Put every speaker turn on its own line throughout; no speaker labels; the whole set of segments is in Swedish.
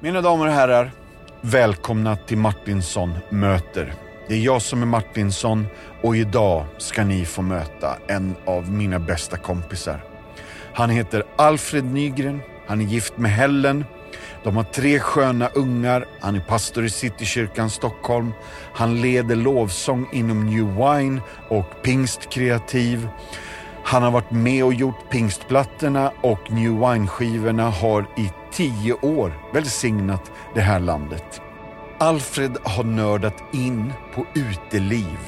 Mina damer och herrar, välkomna till Martinsson möter. Det är jag som är Martinsson och idag ska ni få möta en av mina bästa kompisar. Han heter Alfred Nygren, han är gift med Helen. De har tre sköna ungar, han är pastor i Citykyrkan Stockholm. Han leder lovsång inom New Wine och Pingst Kreativ. Han har varit med och gjort Pingstplattorna och New Wine-skivorna har i tio år välsignat det här landet. Alfred har nördat in på uteliv.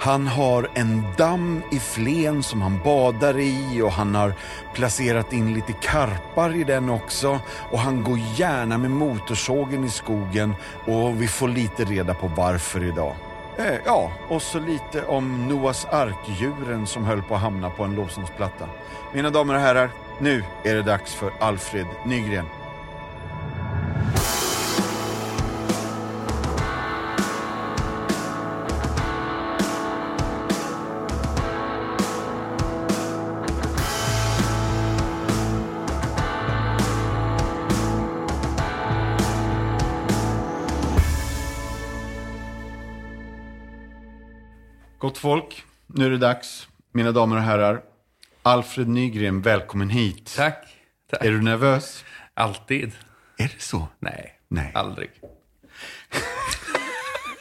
Han har en damm i Flen som han badar i och han har placerat in lite karpar i den också. Och han går gärna med motorsågen i skogen och vi får lite reda på varför idag. Eh, ja, och så lite om Noas arkdjuren som höll på att hamna på en lovsångsplatta. Mina damer och herrar, nu är det dags för Alfred Nygren. Gott folk, nu är det dags. Mina damer och herrar, Alfred Nygren, välkommen hit.
Tack. Tack.
Är du nervös?
Alltid?
Är det så?
Nej.
Nej.
Aldrig.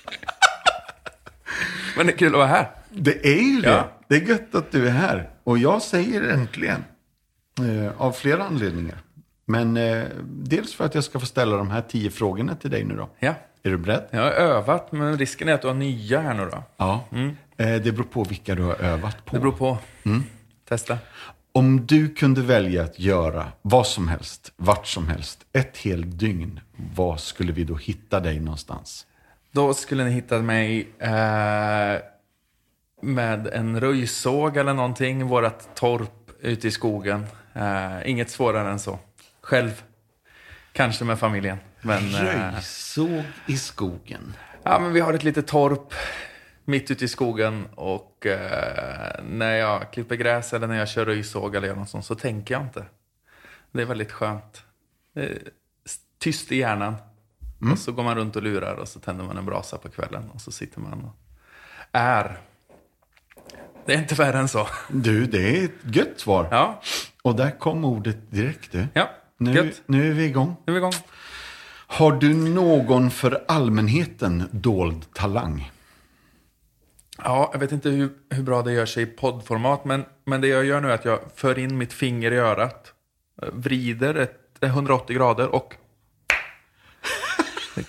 Men det är kul att vara här.
Det är ju det.
Ja.
Det är gött att du är här. Och jag säger äntligen. Eh, av flera anledningar. Men eh, dels för att jag ska få ställa de här tio frågorna till dig nu då.
Ja.
Är du beredd?
Jag har övat, men risken är att du har nya här nu då.
Ja. Eh, det beror på vilka du har övat på.
Det beror på. Testa.
Om du kunde välja att göra vad som helst, vart som helst, ett helt dygn. Var skulle vi då hitta dig någonstans?
Då skulle ni hitta mig eh, med en röjsåg eller någonting. Vårat torp ute i skogen. Eh, inget svårare än så. Själv. Kanske med familjen. Men, eh,
Röjsåg i skogen.
Ja, men vi har ett litet torp mitt ute i skogen och eh, när jag klipper gräs eller när jag kör röjsåg eller gör något sånt så tänker jag inte. Det är väldigt skönt. Det är s- tyst i hjärnan. Och så går man runt och lurar och så tänder man en brasa på kvällen och så sitter man och är. Det är inte värre än så.
Du, det är ett gött svar.
Ja,
Och där kom ordet direkt du.
ja.
Nu,
gött.
nu är vi igång.
Nu är vi igång.
Har du någon för allmänheten dold talang?
Ja, jag vet inte hur, hur bra det gör sig i poddformat, men, men det jag gör nu är att jag för in mitt finger i örat, eh, vrider ett, eh, 180 grader och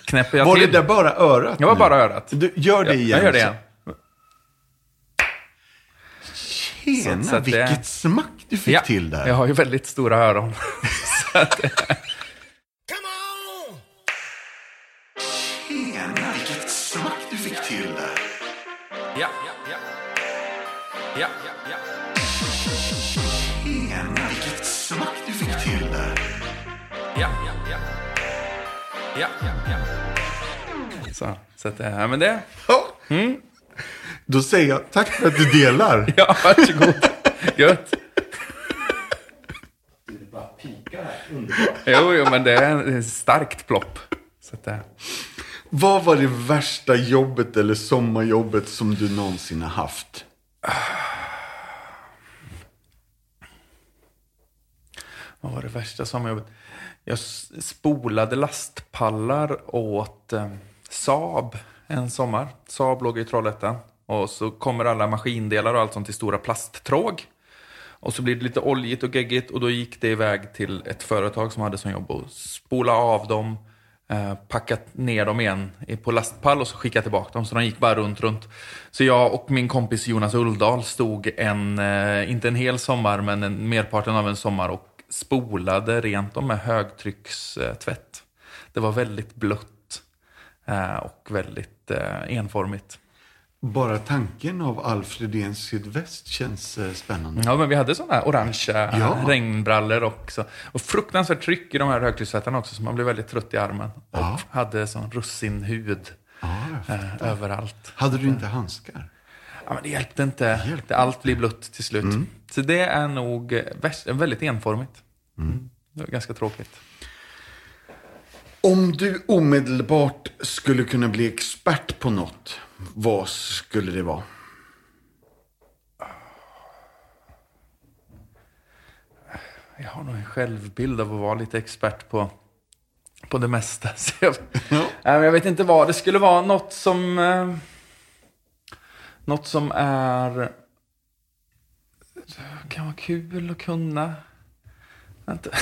knäpper jag
Var det
till.
där bara örat?
Det var
nu?
bara örat.
Du, gör det
Ja,
igen.
Jag gör det igen.
Tjena,
Så- så att det-
vilket smack du fick
Ja,
till där.
Jag har ju väldigt stora öron. Så att,
Tjena, vilket smack du fick till där.
ja, ja. Ja, ja.
Tjena, vilket smack du fick till där.
Ja, ja, ja. Ja, ja, ja. Så, så att, eh, ja, men det...
Då säger jag tack för att du delar.
Ja, varsågod. Gött. Det bara pikar här. Jo, jo, men det är ett starkt plopp. Så att det...
Vad var det värsta jobbet eller sommarjobbet som du någonsin har haft?
Vad var det värsta sommarjobbet? Jag s- spolade lastpallar åt eh, Saab en sommar. Saab låg i Trollhättan. Och så kommer alla maskindelar och allt sånt till stora plasttråg. Och så blir det lite oljigt och geggigt och då gick det iväg till ett företag som hade som jobb att spola av dem, eh, packa ner dem igen i- på lastpall och så skicka tillbaka dem. Så de gick bara runt, runt. Så jag och min kompis Jonas Ulvdahl stod en, eh, inte en hel sommar, men en, merparten av en sommar och spolade rent dem med högtryckstvätt. Det var väldigt blött eh, och väldigt eh, enformigt.
Bara tanken av Alfred i en sydväst känns eh, spännande.
Ja, men vi hade sådana orangea
Ja.
regnbrallor också. Och fruktansvärt tryck i de här högtryckstvättarna också, så man blev väldigt trött i armen. Och
Ja.
hade sån russinhud
Ja, jag fattar.
eh, överallt.
Hade du inte handskar?
Ja, men det hjälpte inte. det, allt blev blött till slut. Så det är nog eh, värst- väldigt enformigt. Mm. Det var ganska tråkigt.
Om du omedelbart skulle kunna bli expert på något, vad skulle det vara?
Jag har nog en självbild av att vara lite expert på, på det mesta. Så jag, Nej, Eh, men jag vet inte vad. Det skulle vara något som... Eh, något som är... kan vara kul att kunna. Vänta.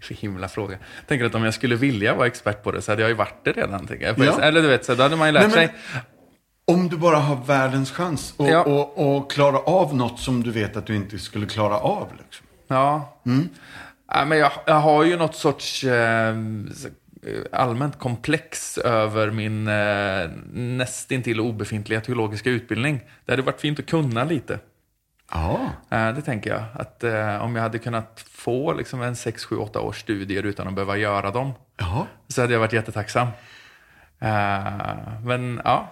Så himla fråga. Tänker att om jag skulle vilja vara expert på det så hade jag ju varit det redan. Tänker jag.
Ja.
Eller du vet, så då hade man ju lärt
Nej, men-
sig.
Om du bara har världens chans och,
Ja.
och, och klara av något som du vet att du inte skulle klara av. Liksom.
Ja. ja men jag, jag har ju något sorts eh, allmänt komplex över min eh, nästintill obefintliga teologiska utbildning. Det hade varit fint att kunna lite.
Ja.
Eh, det tänker jag. Att eh, om jag hade kunnat få liksom, en 6, 7, 8 års studier utan att behöva göra dem
ja.
så hade jag varit jättetacksam. Eh, men ja.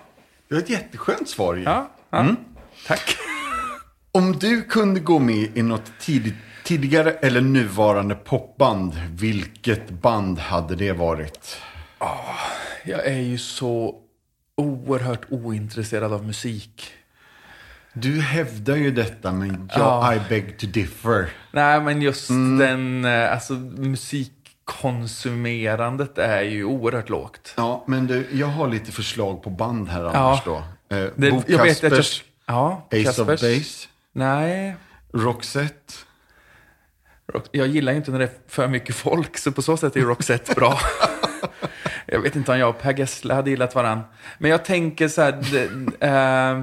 Det var ett jätteskönt svar ju.
ja, ja. Tack.
Om du kunde gå med i något tid, tidigare eller nuvarande popband, vilket band hade det varit?
Jag är ju så oerhört ointresserad av musik.
Du hävdar ju detta, men jag,
Ja.
I beg to differ.
Nej, men just
Mm.
den, eh, alltså musikkonsumerandet är ju oerhört lågt.
Ja, men du, jag har lite förslag på band här annars då.
Ja.
Eh,
Det,
Bo
jag vet att jag,
Kaspers,
ja,
Ace
Kaspers.
of Base,
Nej,
Roxette.
Rock- jag gillar ju inte när det är för mycket folk, så på så sätt är ju Roxette bra. jag vet inte om jag och Per Gessle hade gillat varann. Men jag tänker så här, de, eh,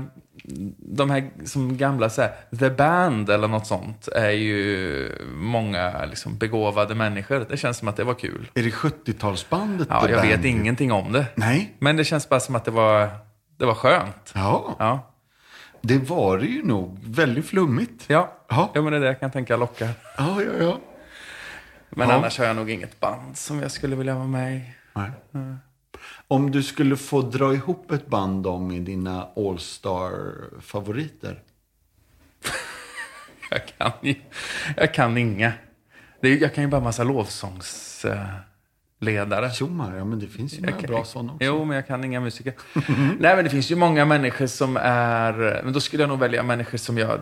de här som gamla, så här, The Band eller något sånt, är ju många liksom, begåvade människor. Det känns som att det var kul.
Är det 70-talsbandet?
Ja,
The
jag
Band?
vet ingenting om det.
Nej.
Men det känns bara som att det var, det var skönt.
Ja,
Ja.
det var det ju nog. Väldigt flummigt.
Ja.
Ja.
ja, men det är det jag kan tänka locka.
Ja, ja, ja.
Men
Ja.
annars har jag nog inget band som jag skulle vilja vara med i.
Nej.
Mm.
Om du skulle få dra ihop ett band om i dina All-Star-favoriter?
Jag kan, ju- jag kan inga. Det är, jag kan ju bara massa lovsångsledare.
Tjommar, ja men det finns ju några
Okej.
bra sådana också.
Jo, men jag kan inga musiker. Nej, men det finns ju många människor som är... Men då skulle jag nog välja människor som jag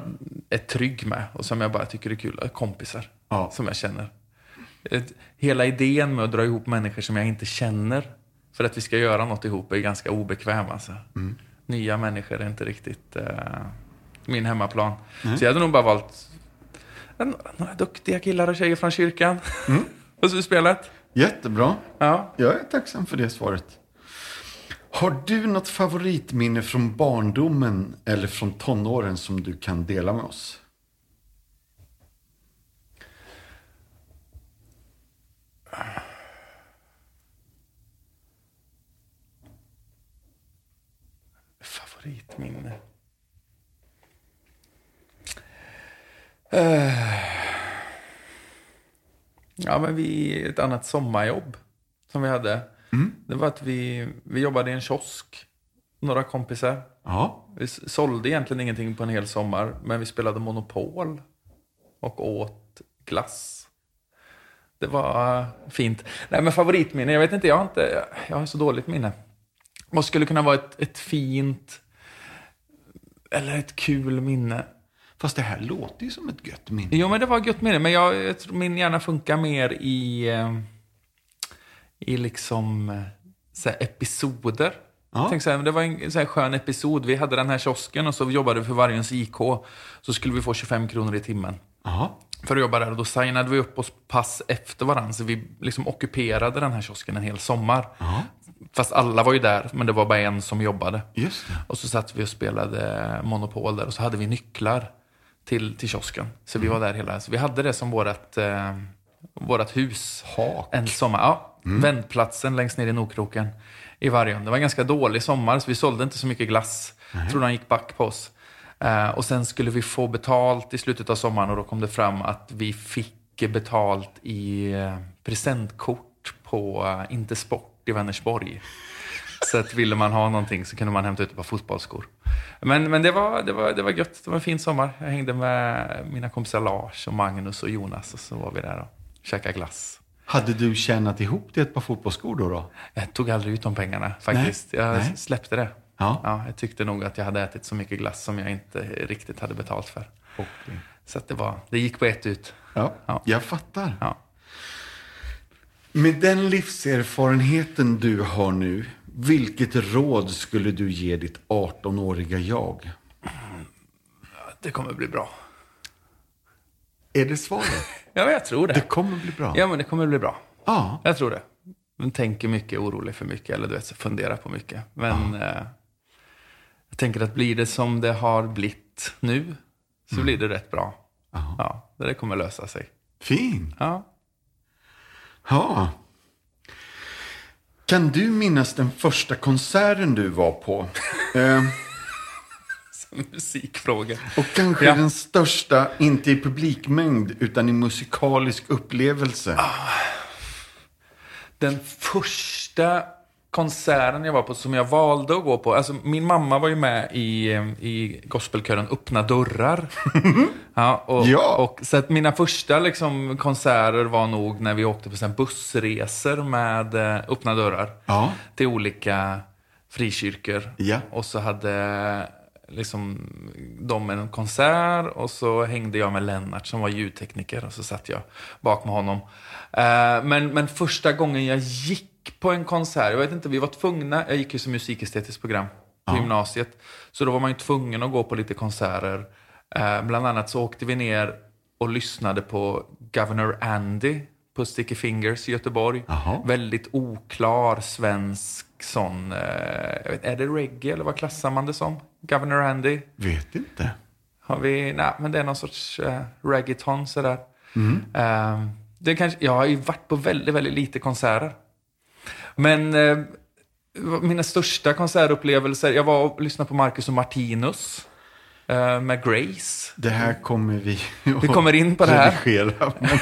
är trygg med och som jag bara tycker är kul. Kompisar
Ja.
som jag känner. Ett- Hela idén med att dra ihop människor som jag inte känner för att vi ska göra något ihop är ganska obekväm. Alltså.
Mm.
Nya människor är inte riktigt eh, min hemmaplan. Så jag hade nog bara valt en, några duktiga killar och tjejer från kyrkan.
Mm.
och så spelat.
Jättebra.
Ja.
Jag är tacksam för det svaret. Har du något favoritminne från barndomen eller från tonåren som du kan dela med oss?
Favoritminne? Eh. ja, men vi... Ett annat sommarjobb som vi hade. Det var att vi, vi jobbade i en kiosk, några kompisar.
Ja.
Vi s- sålde egentligen ingenting på en hel sommar, men vi spelade Monopol och åt glass. Det var eh, fint. Nej, men favoritminne? Jag vet inte, jag har, inte, jag har så dåligt minne. Vad skulle kunna vara ett, ett fint eller ett kul minne?
Fast det här låter ju som ett gött minne.
Jo, men det var ett gött minne, men jag, jag tror min hjärna funkar mer i, eh, i liksom eh, så här episoder.
Ja.
Tänk så här, men det var en så här skön episod. Vi hade den här kiosken och så jobbade vi för Vargens IK. Så skulle vi få 25 kronor i timmen
Ja.
för att jobba där. Och då signade vi upp oss pass efter varandra. Så vi liksom ockuperade den här kiosken en hel sommar.
Ja,
Fast alla var ju där, men det var bara en som jobbade.
just det.
Och så satt vi och spelade Monopol där och så hade vi nycklar till, till kiosken. Så vi var där hela... Så vi hade det som vårt eh, vårat hus.
Hak.
En sommar. Ja, Vändplatsen längst ner i Nokroken i Vargön. Det var en ganska dålig sommar så vi sålde inte så mycket glass. Jag tror de gick back på oss. Eh, och sen skulle vi få betalt i slutet av sommaren och då kom det fram att vi fick betalt i eh, presentkort på eh, Intersport i Vänersborg. Så att ville man ha någonting så kunde man hämta ut ett par fotbollsskor. Men, men det, var, det, var, det var gött. Det var en fin sommar. Jag hängde med mina kompisar Lars och Magnus och Jonas och så var vi där och käkade glass.
Hade du tjänat ihop till ett par fotbollsskor då? då?
Jag tog aldrig ut de pengarna faktiskt.
Nej,
Jag
nej.
släppte det.
Ja.
jag tyckte nog att jag hade ätit så mycket glass som jag inte riktigt hade betalt för. Så att det, var, det gick på ett ut.
Ja,
Ja.
jag fattar.
Ja.
Med den livserfarenheten du har nu, vilket råd skulle du ge ditt 18-åriga jag?
Det kommer bli bra.
Är det svaret?
Ja, men jag tror det.
Det kommer bli bra.
Ja, men det kommer bli bra.
Ja.
Jag tror det. Man tänker mycket, är orolig för mycket eller du vet, så funderar på mycket. Men eh, jag tänker att blir det som det har blivit nu så blir det rätt bra.
Mm. Ja.
Ja, det kommer lösa sig.
Fin.
Ja.
Ja. Kan du minnas den första konserten du var på? eh,
Musikfrågor.
och kanske
Ja.
den största, inte i publikmängd, utan i musikalisk upplevelse.
Ah. Den första konserten jag var på, som jag valde att gå på. Alltså, min mamma var ju med i, eh, i gospelkören Öppna dörrar. ja, och,
Ja.
Och, så att mina första liksom, konserter var nog när vi åkte på sån här bussresor med eh, Öppna dörrar.
Ja.
Till olika frikyrkor.
Ja.
Och så hade liksom, de en konsert och så hängde jag med Lennart som var ljudtekniker och så satt jag bak med honom. Eh, men, men första gången jag gick på en konsert, jag vet inte, vi var tvungna, jag gick ju som musikestetiskt program på gymnasiet, så då var man ju tvungen att gå på lite konserter. Eh, bland annat så åkte vi ner och lyssnade på Governor Andy på Sticky Fingers i Göteborg.
Jaha.
Väldigt oklar svensk sån... Eh, jag vet, är det reggae eller vad klassar man det som? Governor Andy?
Vet inte.
Har vi... Nej, men det är någon sorts eh, reggaeton sådär. Eh, det kanske, jag har ju varit på väldigt, väldigt lite konserter. Men eh, mina största konsertupplevelser... Jag var och lyssnade på Marcus och Martinus eh, med Grace.
Det här kommer vi att
Vi kommer in på det här.
redigera. Men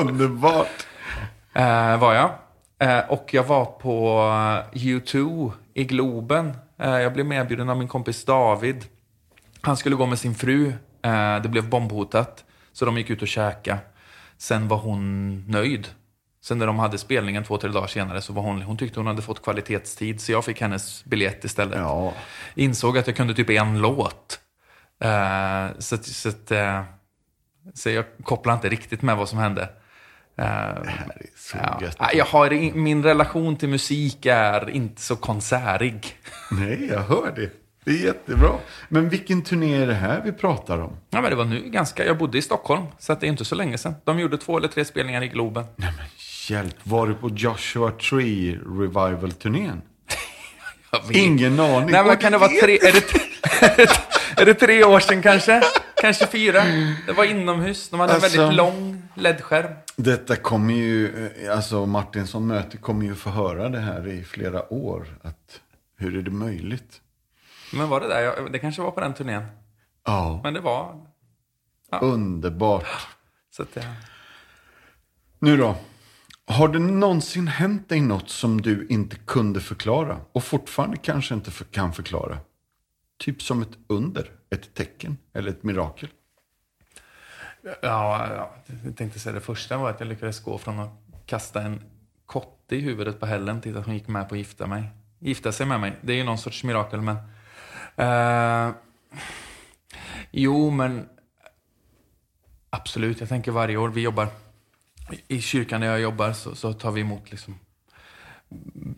underbart!
Eh, var jag. Eh, och jag var på eh, U2 i Globen. Eh, jag blev medbjuden av min kompis David. Han skulle gå med sin fru. Eh, det blev bombhotat. Så de gick ut och käka. Sen var hon nöjd. Sen när de hade spelningen två, tre dagar senare så var hon, hon tyckte hon hade fått kvalitetstid. Så jag fick hennes biljett istället.
Ja.
Insåg att jag kunde typ en låt. Eh, så att, så, att, eh, så jag kopplar inte riktigt med vad som hände.
Det
Eh,
här är så
Ja.
gött. alltså.
Ja, Jag har, i- min relation till musik är inte så konsertig.
Nej, jag hör det. Det är jättebra. Men vilken turné är det här vi pratar om?
Ja, men det var nu ganska. Jag bodde i Stockholm, så att det är inte så länge sedan. De gjorde två eller tre spelningar i Globen.
Nej men hjälp, var du på Joshua Tree Revival-turnén?
Jag vet.
Ingen aning.
Nej, men
Och
kan det
du
vara
vet-
tre... Är det, är det tre år sedan kanske? Kanske fyra? Det var inomhus. De hade en
Alltså.
väldigt lång LED-skärm.
Detta kommer ju, eh, alltså Martinsson möte kommer ju få höra det här i flera år. Att, hur är det möjligt?
Men var det där? Jag- Det kanske var på den turnén.
Ja,
Men det var...
underbart.
Så att det,
Nu då. Har det någonsin hänt dig något som du inte kunde förklara? Och fortfarande kanske inte för, kan förklara? Typ som ett under, ett tecken eller ett mirakel?
Ja, ja, jag tänkte säga det första var att jag lyckades gå från att kasta en kotte i huvudet på Helen till att hon gick med på att gifta, mig. gifta sig med mig. Det är ju någon sorts mirakel, men... Eh, jo, men... Absolut, jag tänker varje år vi jobbar. I kyrkan där jag jobbar så, så tar vi emot liksom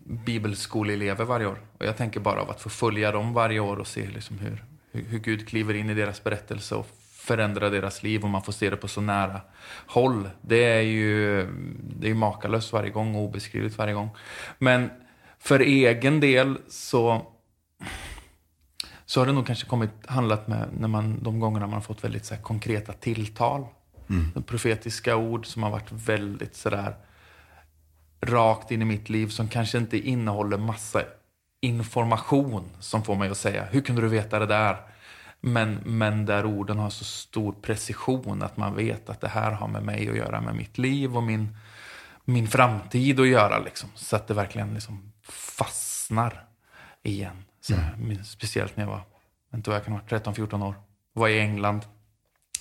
bibelskoleelever varje år. Och jag tänker bara av att få följa dem varje år och se liksom hur, hur, hur Gud kliver in i deras berättelse och förändrar deras liv och man får se det på så nära håll. Det är ju det är makalöst varje gång och obeskrivligt varje gång. Men för egen del så så har det nog kanske kommit, handlat med när man, de gångerna man har fått väldigt så här konkreta tilltal. Profetiska ord som har varit väldigt sådär rakt in i mitt liv som kanske inte innehåller massa information som får mig att säga hur kunde du veta det där? Men, men där orden har så stor precision att man vet att det här har med mig att göra, med mitt liv och min, min framtid att göra. Liksom. Så att det verkligen liksom fastnar igen. Så, men Speciellt när jag var, jag vet inte vad jag kan vara, 13-14 år. Var i England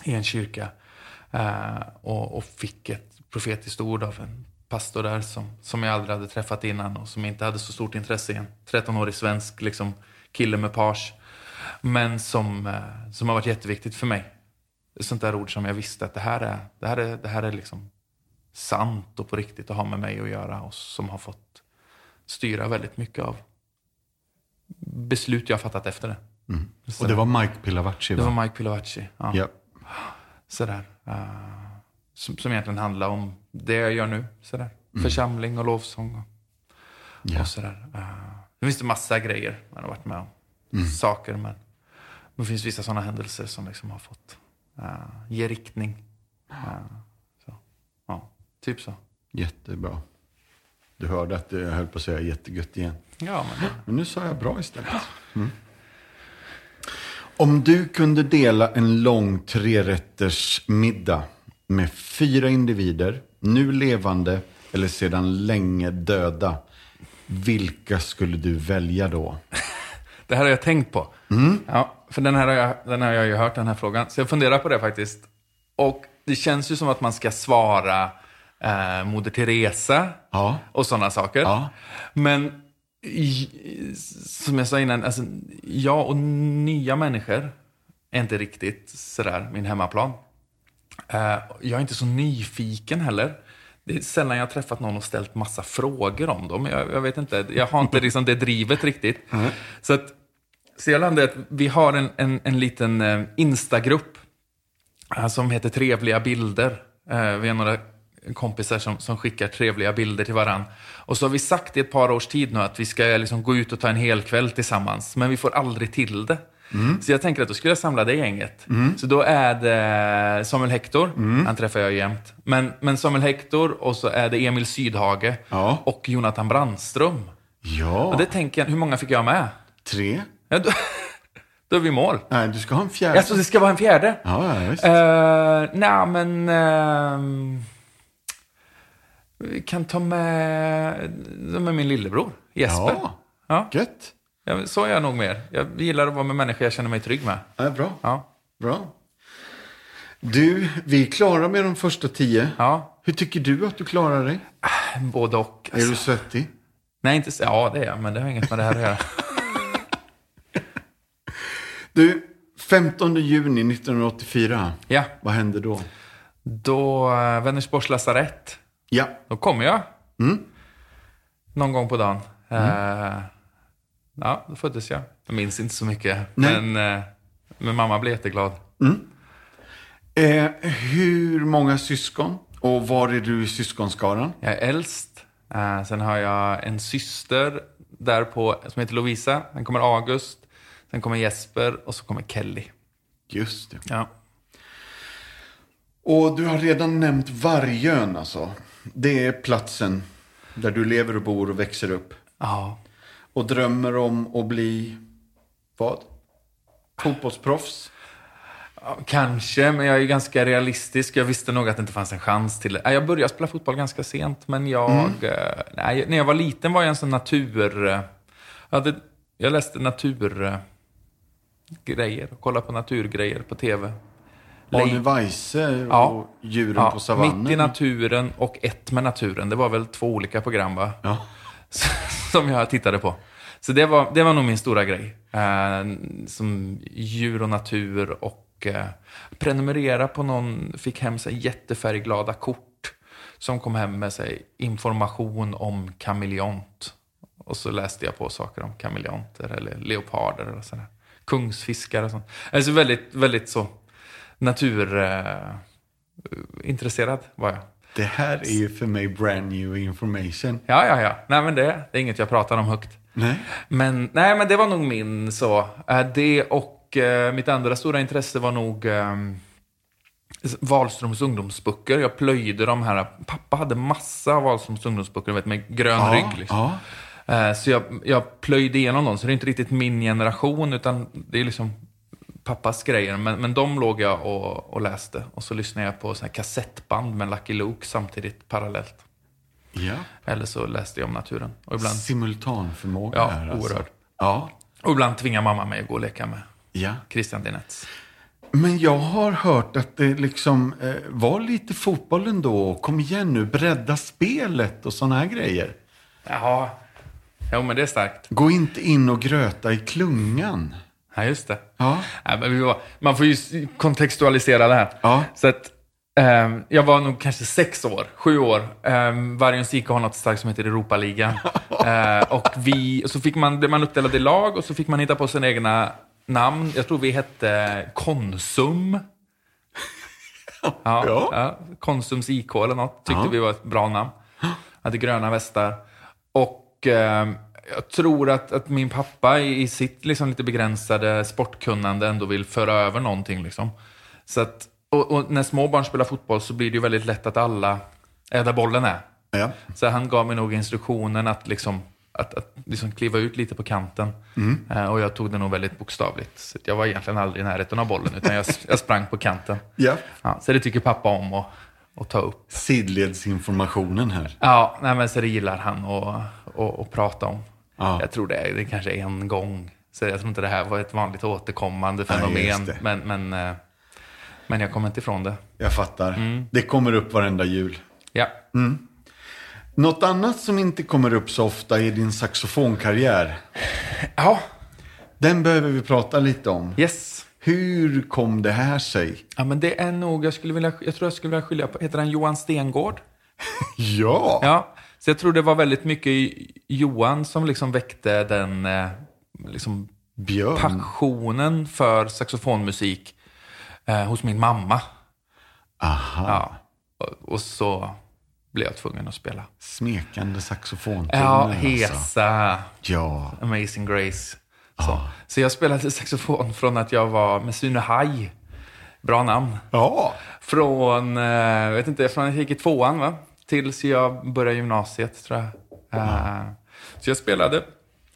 i en kyrka eh, och, och fick ett profetiskt ord av en pastor där som, som jag aldrig hade träffat innan och som inte hade så stort intresse igen. 13-årig svensk liksom, kille med page. Men som, eh, som har varit jätteviktigt för mig. Sånt där ord som jag visste att det här är, det här är, det här är liksom sant och på riktigt att ha med mig att göra och som har fått styra väldigt mycket av beslut jag har fattat efter det. Så-
Mm. Och det var Mike Pilavacci
det
va?
var Mike Pilovacci. Ja.
Ja.
Sådär. eh, som, som egentligen handlar om det jag gör nu. Sådär. Församling och lovsång. Och,
Ja.
och sådär. Eh, det finns det massa grejer man har varit med om. Saker. Men, men det finns vissa sådana händelser som liksom har fått eh, ge riktning. Eh, så. Ja, typ så.
Jättebra. Du hörde att jag höll på att säga jättegött igen.
Ja, men,
Men nu sa jag bra istället. Mm. Om du kunde dela en lång trerätters middag med fyra individer, nu levande eller sedan länge döda. Vilka skulle du välja då?
Det här har jag tänkt på. Ja, för den här, har jag, den här har jag ju hört, den här frågan. Så jag funderar på det faktiskt. Och det känns ju som att man ska svara eh, Moder Teresa
Ja.
och sådana saker.
Ja.
Men i- som jag sa innan, alltså, jag och nya människor är inte riktigt sådär min hemmaplan. Eh, jag är inte så nyfiken heller. Det är sällan jag har träffat någon och ställt massa frågor om dem. Jag, jag vet inte, jag har inte liksom det drivet riktigt. Så, att, så jag landade i att vi har en, en, en liten eh, Instagrupp eh, som heter Trevliga bilder. Eh, vi är några kompisar som, som skickar trevliga bilder till varann. Och så har vi sagt i ett par års tid nu att vi ska liksom gå ut och ta en hel kväll tillsammans, men vi får aldrig till det. Så jag tänker att då skulle jag samla det gänget. Så då är det Samuel Hector, han träffar jag ju jämt. Men, men Samuel Hector och så är det Emil Sydhage
Ja.
och Jonathan Brandström.
Ja,
Och det tänker jag, hur många fick jag med?
tre.
Ja, då, då är vi i mål.
Nej, du ska ha en fjärde.
Alltså det ska vara en fjärde?
Ja, ja, visst.
Eh, nej, men... ehm, vi kan ta med, ta med min lillebror, Jesper.
Ja.
Ja.
Gött.
ja, men så är jag nog mer. Jag gillar att vara med människor jag känner mig trygg med.
Ja, bra.
Ja.
Bra. Du, vi är klara med de första tio.
Ja,
Hur tycker du att du klarar dig?
både och.
Är
Alltså.
du svettig?
Nej, inte så. Ja, det är jag, men det har inget med det här att göra.
Du, 15 juni 1984.
Ja,
Vad hände då?
då eh, Vänersborgs lasarett.
Ja,
Då kommer jag. Någon gång på dagen. Eh, ja, då föddes jag. Jag minns inte så mycket.
Nej.
Men, eh, men mamma blev jätteglad.
eh, hur många syskon? Och var är du i syskonskaran?
Jag är äldst. Eh, sen har jag en syster där på, som heter Lovisa. Sen kommer August. Sen kommer Jesper och så kommer Kelly.
Just det.
Ja.
Och du har redan nämnt Vargön alltså. Det är platsen där du lever och bor och växer upp.
Ja.
Och drömmer om att bli... Vad? Fotbollsproffs?
Ja, Kanske, men jag är ju ganska realistisk. Jag visste nog att det inte fanns en chans till det. Nej, Jag började spela fotboll ganska sent, men jag...
Mm.
eh, Nej, när jag var liten var jag en sån natur... eh, Jag, hade, jag läste naturgrejer och kollade på naturgrejer på tv.
Arne
Leif-
Weise och
Ja.
djuren
Ja,
på savannen?
Mitt i naturen och ett med naturen. Det var väl två olika program va?
Ja.
som jag tittade på. Så det var, det var nog min stora grej. Eh, som djur och natur och eh, prenumerera på någon, fick hem sig jättefärgglada kort som kom hem med sig information om kameleont. Och så läste jag på saker om kameleonter eller leoparder och sådär. Kungsfiskar och sånt. Alltså väldigt, väldigt så natur... Eh, intresserad var jag.
Det här är ju för mig brand new information.
Ja, ja, ja. Nej, men det, det är inget jag pratar om högt.
Nej.
Men, nej, men det var nog min så. Eh, Det och eh, mitt andra stora intresse var nog eh, Wahlströms ungdomsböcker. Jag plöjde de här. Pappa hade massa Wahlströms ungdomsböcker du vet, med grön rygg. Liksom.
ja.
Eh, Så jag, jag plöjde igenom dem, så det är inte riktigt min generation, utan det är liksom pappas grejer. Men, men de låg jag och, och läste. Och så lyssnade jag på såna här kassettband med Lucky Luke samtidigt, parallellt.
ja.
Eller så läste jag om naturen. Och ibland,
Simultanförmåga
Ja,
här alltså.
oerhörd.
Ja,
och ibland tvingade mamma mig att gå och leka med
ja.
Christian Dinettes.
Men jag har hört att det liksom eh, var lite fotboll ändå. Kom igen nu, bredda spelet och sådana här grejer.
Jaha. Jo, men det är starkt.
Gå inte in och gröta i klungan.
Ja, just det.
Ja.
Ja, men vi var, man får ju s- kontextualisera det här.
Ja.
Så att, ehm, jag var nog kanske sex år, sju år. Um, Vargens IK har något starkt som heter Europaligan. Eh, och vi, och så fick man, blev man uppdelad i lag och så fick man hitta på sina egna namn. Jag tror vi hette Konsum. Ja,
Ja.
ja. Konsums IK eller något tyckte vi var ett bra namn. Hade gröna västar. Och eh, jag tror att, att min pappa i i sitt liksom lite begränsade sportkunnande ändå vill föra över någonting. Liksom. Så att, och, och när små barn spelar fotboll så blir det ju väldigt lätt att alla är där bollen är.
Ja.
Så han gav mig nog instruktionen att, liksom, att, att liksom kliva ut lite på kanten. Eh, och jag tog det nog väldigt bokstavligt. Så att jag var egentligen aldrig i närheten av bollen, utan jag, jag sprang på kanten.
ja.
Ja, så det tycker pappa om att, att ta upp.
Sidledsinformationen här.
Ja, nej, men så det gillar han att, att, att prata om.
Ja.
Jag tror det är, det är kanske en gång. Så jag tror inte det här var ett vanligt återkommande
Nej,
fenomen.
just det.
men, men, eh, men jag kommer inte ifrån det.
Jag fattar.
Mm.
Det kommer upp varenda jul.
Ja.
Något annat som inte kommer upp så ofta är din saxofonkarriär.
ja,
Den behöver vi prata lite om.
yes.
Hur kom det här sig?
Ja, men det är nog, jag, skulle vilja, jag tror jag skulle vilja skilja på, heter han Johan Stengård?
Ja!
Ja, så jag tror det var väldigt mycket Johan som liksom väckte den eh, liksom
Björn.
passionen för saxofonmusik eh, hos min mamma.
Aha.
Ja. Och, och så blev jag tvungen att spela.
Smekande saxofon. alltså.
Ja, Hesa,
Ja.
alltså. Amazing Grace. Så. så jag spelade saxofon från att jag var med Sune Haj. Bra namn.
Ja.
Från, eh, jag vet inte, från att jag gick i tvåan va? Tills jag började gymnasiet tror jag. Eh, Så jag spelade.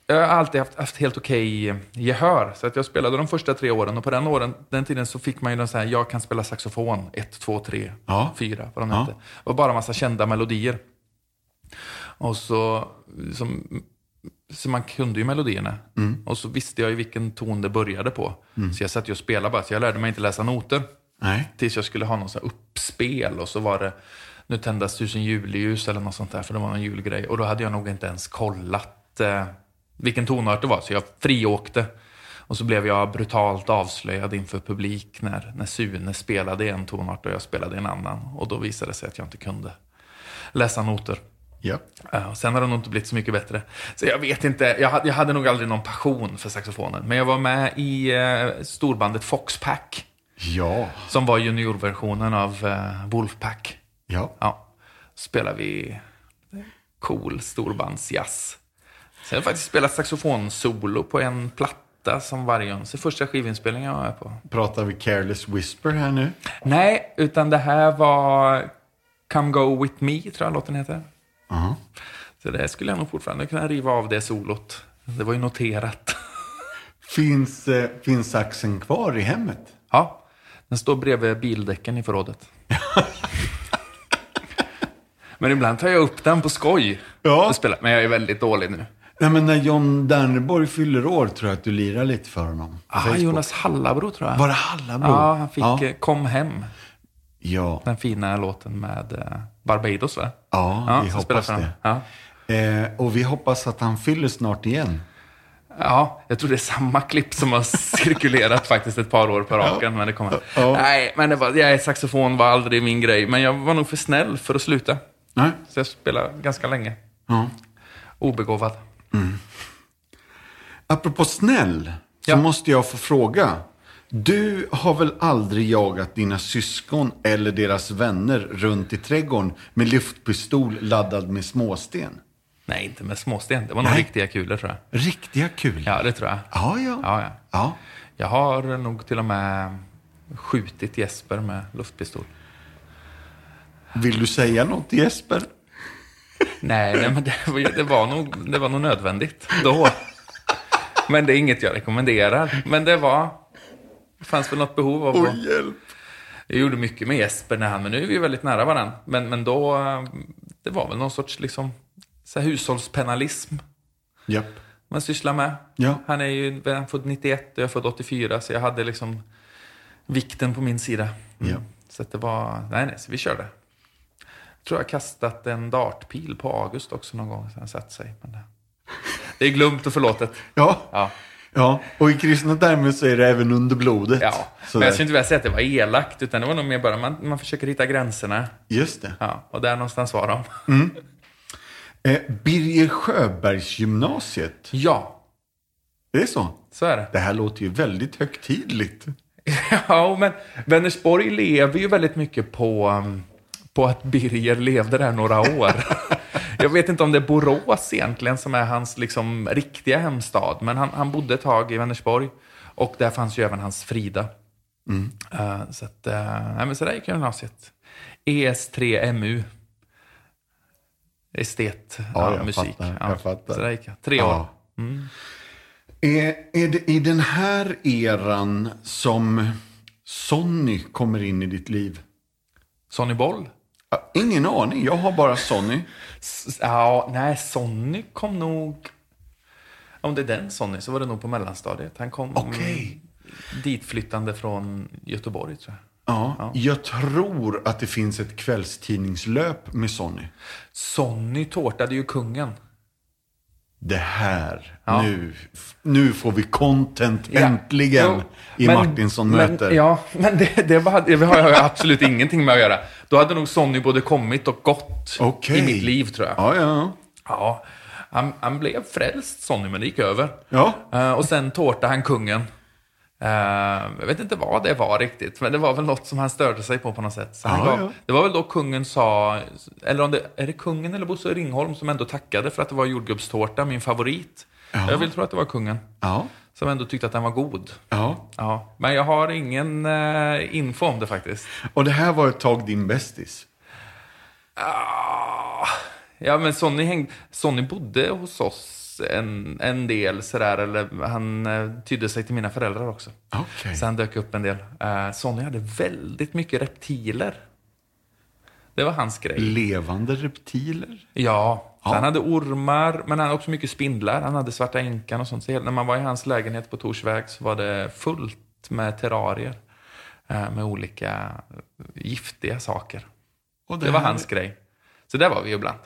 Jag har alltid haft, haft helt okej eh, gehör. Så att jag spelade de första tre åren och på den, åren, den tiden så fick man ju någon så här, jag kan spela saxofon, ett, två, tre,
Ja.
fyra, vad de
Ja.
hette. Det var bara massa kända melodier. Och så, som, så man kunde ju melodierna.
Mm.
Och så visste jag ju vilken ton det började på. Så jag satt ju och spelade bara, så jag lärde mig inte läsa noter.
Nej.
Tills jag skulle ha någon sån här uppspel och så var det nu tändas tusen julljus eller något sånt där för det var någon julgrej. Och då hade jag nog inte ens kollat eh, vilken tonart det var så jag friåkte. Och så blev jag brutalt avslöjad inför publik när, när Sune spelade i en tonart och jag spelade i en annan. Och då visade det sig att jag inte kunde läsa noter.
Ja.
Ja, och sen har det nog inte blivit så mycket bättre. Så jag vet inte, jag hade, jag hade nog aldrig någon passion för saxofonen. Men jag var med i eh, storbandet Foxpack.
Ja.
Som var juniorversionen av eh, Wolfpack.
Ja.
Ja. Spelar vi cool storbandsjazz. Sen har jag faktiskt spelat saxofonsolo på en platta som Vargöns. Det är första skivinspelningen jag var med på.
Pratar vi careless whisper här nu?
Nej, utan det här var Come Go With Me, tror jag låten heter.
Ja.
Så det skulle jag nog fortfarande kunna riva av det solot. Det var ju noterat.
Finns, eh, finns saxen kvar i hemmet?
Ja, den står bredvid bildäcken i förrådet. Men ibland tar jag upp den på skoj.
Ja.
och spelar. Men jag är väldigt dålig nu.
Nej, men när John Danneborg fyller år tror jag att du lirar lite för honom.
Ah, Jonas Hallabro tror jag.
Var det Hallabro?
Ja, han fick
Ja.
eh, Kom hem.
Ja.
Den fina låten med eh, Barbados va?
Ja, vi
så
hoppas
spelar för den.
det.
Ja.
Eh, och vi hoppas att han fyller snart igen.
ja, jag tror det är samma klipp som har cirkulerat faktiskt ett par år på raken. Men det kommer.
Ja.
Nej, men det var, jag, saxofon var aldrig min grej. Men jag var nog för snäll för att sluta.
Nej.
Så jag spelade ganska länge.
Ja.
Obegåvad.
Apropå snäll, så
Ja.
måste jag få fråga. Du har väl aldrig jagat dina syskon eller deras vänner runt i trädgården med luftpistol laddad med småsten?
Nej, inte med småsten. Det var nog
Nej.
riktiga kulor tror jag.
Riktiga kul.
Ja, det tror jag.
Ja, ja.
Ja, ja.
Ja.
Jag har nog till och med skjutit Jesper med luftpistol.
Vill du säga något Jesper?
Nej, nej men det, var- det, var nog, det var nog nödvändigt då. Men det är inget jag rekommenderar. Men det var... Det fanns väl något behov av att...
Åh, hjälp.
Jag gjorde mycket med Jesper när han... Men nu är vi ju väldigt nära varandra. Men, men då... eh, Det var väl någon sorts liksom, så här hushållspenalism
Japp.
man sysslar med.
Ja.
Han är ju han är född 91 och jag är född 84, så jag hade liksom vikten på min sida. Mm.
Ja.
Så att det var, nej nej, så vi körde. Jag tror jag kastat en dartpil på August också någon gång sen satt sig. Men det, det är glömt och förlåtet.
Ja.
Ja,
ja, och i kristna termer så är det även under blodet.
ja. Men
Sådär.
jag skulle inte vilja säga att det var elakt, utan det var nog mer bara man, man försöker hitta gränserna.
Just det.
Ja, och där någonstans var de.
Eh, Birger Sjöbergsgymnasiet.
Ja,
Det är så?
så är det.
Det här låter ju väldigt högtidligt.
Ja, men Vänersborg lever ju väldigt mycket på, um, på att Birger levde där några år. Jag vet inte om det är Borås egentligen som är hans liksom, riktiga hemstad, men han, han bodde ett tag i Vänersborg. Och där fanns ju även hans Frida.
Mm.
Eh, så, att, eh, nej, men så där gick jag gymnasiet. E ES3MU. Estet, ja,
jag
musik.
fattar,
ja.
jag fattar.
Så där gick jag. Tre år.
Ja.
Mm.
Är, är det i den här eran som Sonny kommer in i ditt liv?
Sonny Boll.
Ja, Ingen aning, jag har bara Sonny.
S- Ja, nej, Sonny kom nog... Om det är den Sonny så var det nog på mellanstadiet. Han kom
Okej.
ditflyttande från Göteborg tror jag.
Ja, Jag tror att det finns ett kvällstidningslöp med Sonny.
Sonny tårtade ju kungen.
Det här,
Ja.
nu, nu får vi content äntligen
Jo,
i
men-
Martinsson
men,
möter.
Ja, men det, det, var, det har jag absolut ingenting med att göra. Då hade nog Sonny både kommit och gått
Okej.
i mitt liv tror jag.
ja, ja.
Ja, han, han blev frälst Sonny, men det gick över.
Ja.
Eh, och sen tårtade han kungen. Eh, jag vet inte vad det var riktigt, men det var väl något som han störde sig på på något sätt. Så han
Ja,
gav,
ja.
Det var väl då kungen sa, eller om det, är det kungen eller Bosse Ringholm som ändå tackade för att det var jordgubbstårta, min favorit. Jag vill tro att det var kungen,
ja.
som ändå tyckte att den var god.
ja.
Ja, men jag har ingen eh, info om det faktiskt.
Och det här var ett tag din bästis.
Ah, Ja, men Sonny, häng, Sonny bodde hos oss en, en del sådär, eller han eh, tydde sig till mina föräldrar också.
Okej.
Så han dök upp en del. Eh, Sonny hade väldigt mycket reptiler. Det var hans grej.
Levande reptiler?
Mm. Ja, så han hade ormar, men han hade också mycket spindlar. Han hade svarta änkan och sånt. Så helt- när man var i hans lägenhet på Torsväg så var det fullt med terrarier. eh, Med olika giftiga saker.
Och
Det var
här
hans grej. Så där var vi ibland.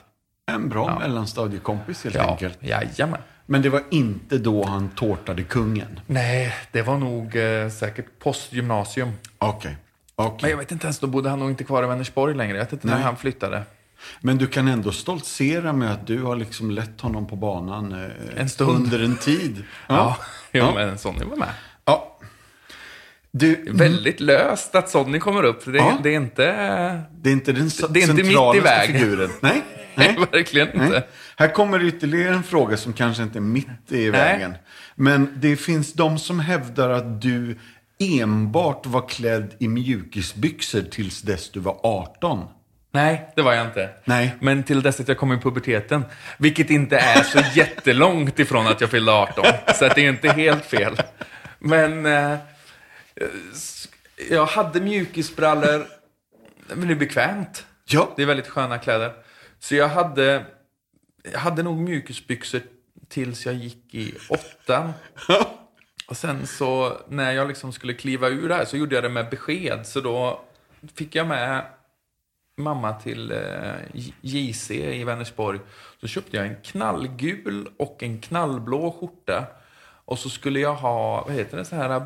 är En bra mellanstadiekompis helt
Ja,
enkelt.
jajamän.
Men det var inte då han tårtade kungen?
Nej, det var nog eh, säkert postgymnasium.
Okej.
Men
okej.
jag vet inte ens, då bodde han nog inte kvar i Vänersborg längre. Jag vet inte när
Nej.
han flyttade.
Men du kan ändå stoltsera med att du har liksom lett honom på banan eh,
En stund.
under en tid.
Ja, jo,
Ja.
men Sonny var med.
ja. Du,
Väldigt löst att Sonny kommer upp. för Det,
Mm. Ja.
det är inte...
det är inte den ce-
Det är inte mitt i
centralaste
väg.
figuren. Nej.
Nej,
Nej.
verkligen inte.
Nej. Här kommer ytterligare en fråga som kanske inte är mitt i vägen. Men det finns de som hävdar att du enbart var klädd i mjukisbyxor tills dess du var 18.
Nej, det var jag inte.
Nej.
Men till dess att jag kom i puberteten. Vilket inte är så jättelångt ifrån att jag fyllde 18. Så att det är inte helt fel. Men eh, s- jag hade mjukisbrallor. Men det är bekvämt.
Ja.
Det är väldigt sköna kläder. Så jag hade, jag hade nog mjukisbyxor tills jag gick i åttan. Och sen så när jag liksom skulle kliva ur det här så gjorde jag det med besked. Så då fick jag med mamma till eh, J- JC i Vänersborg. Så köpte jag en knallgul och en knallblå skjorta. Och så skulle jag ha, vad heter det, så här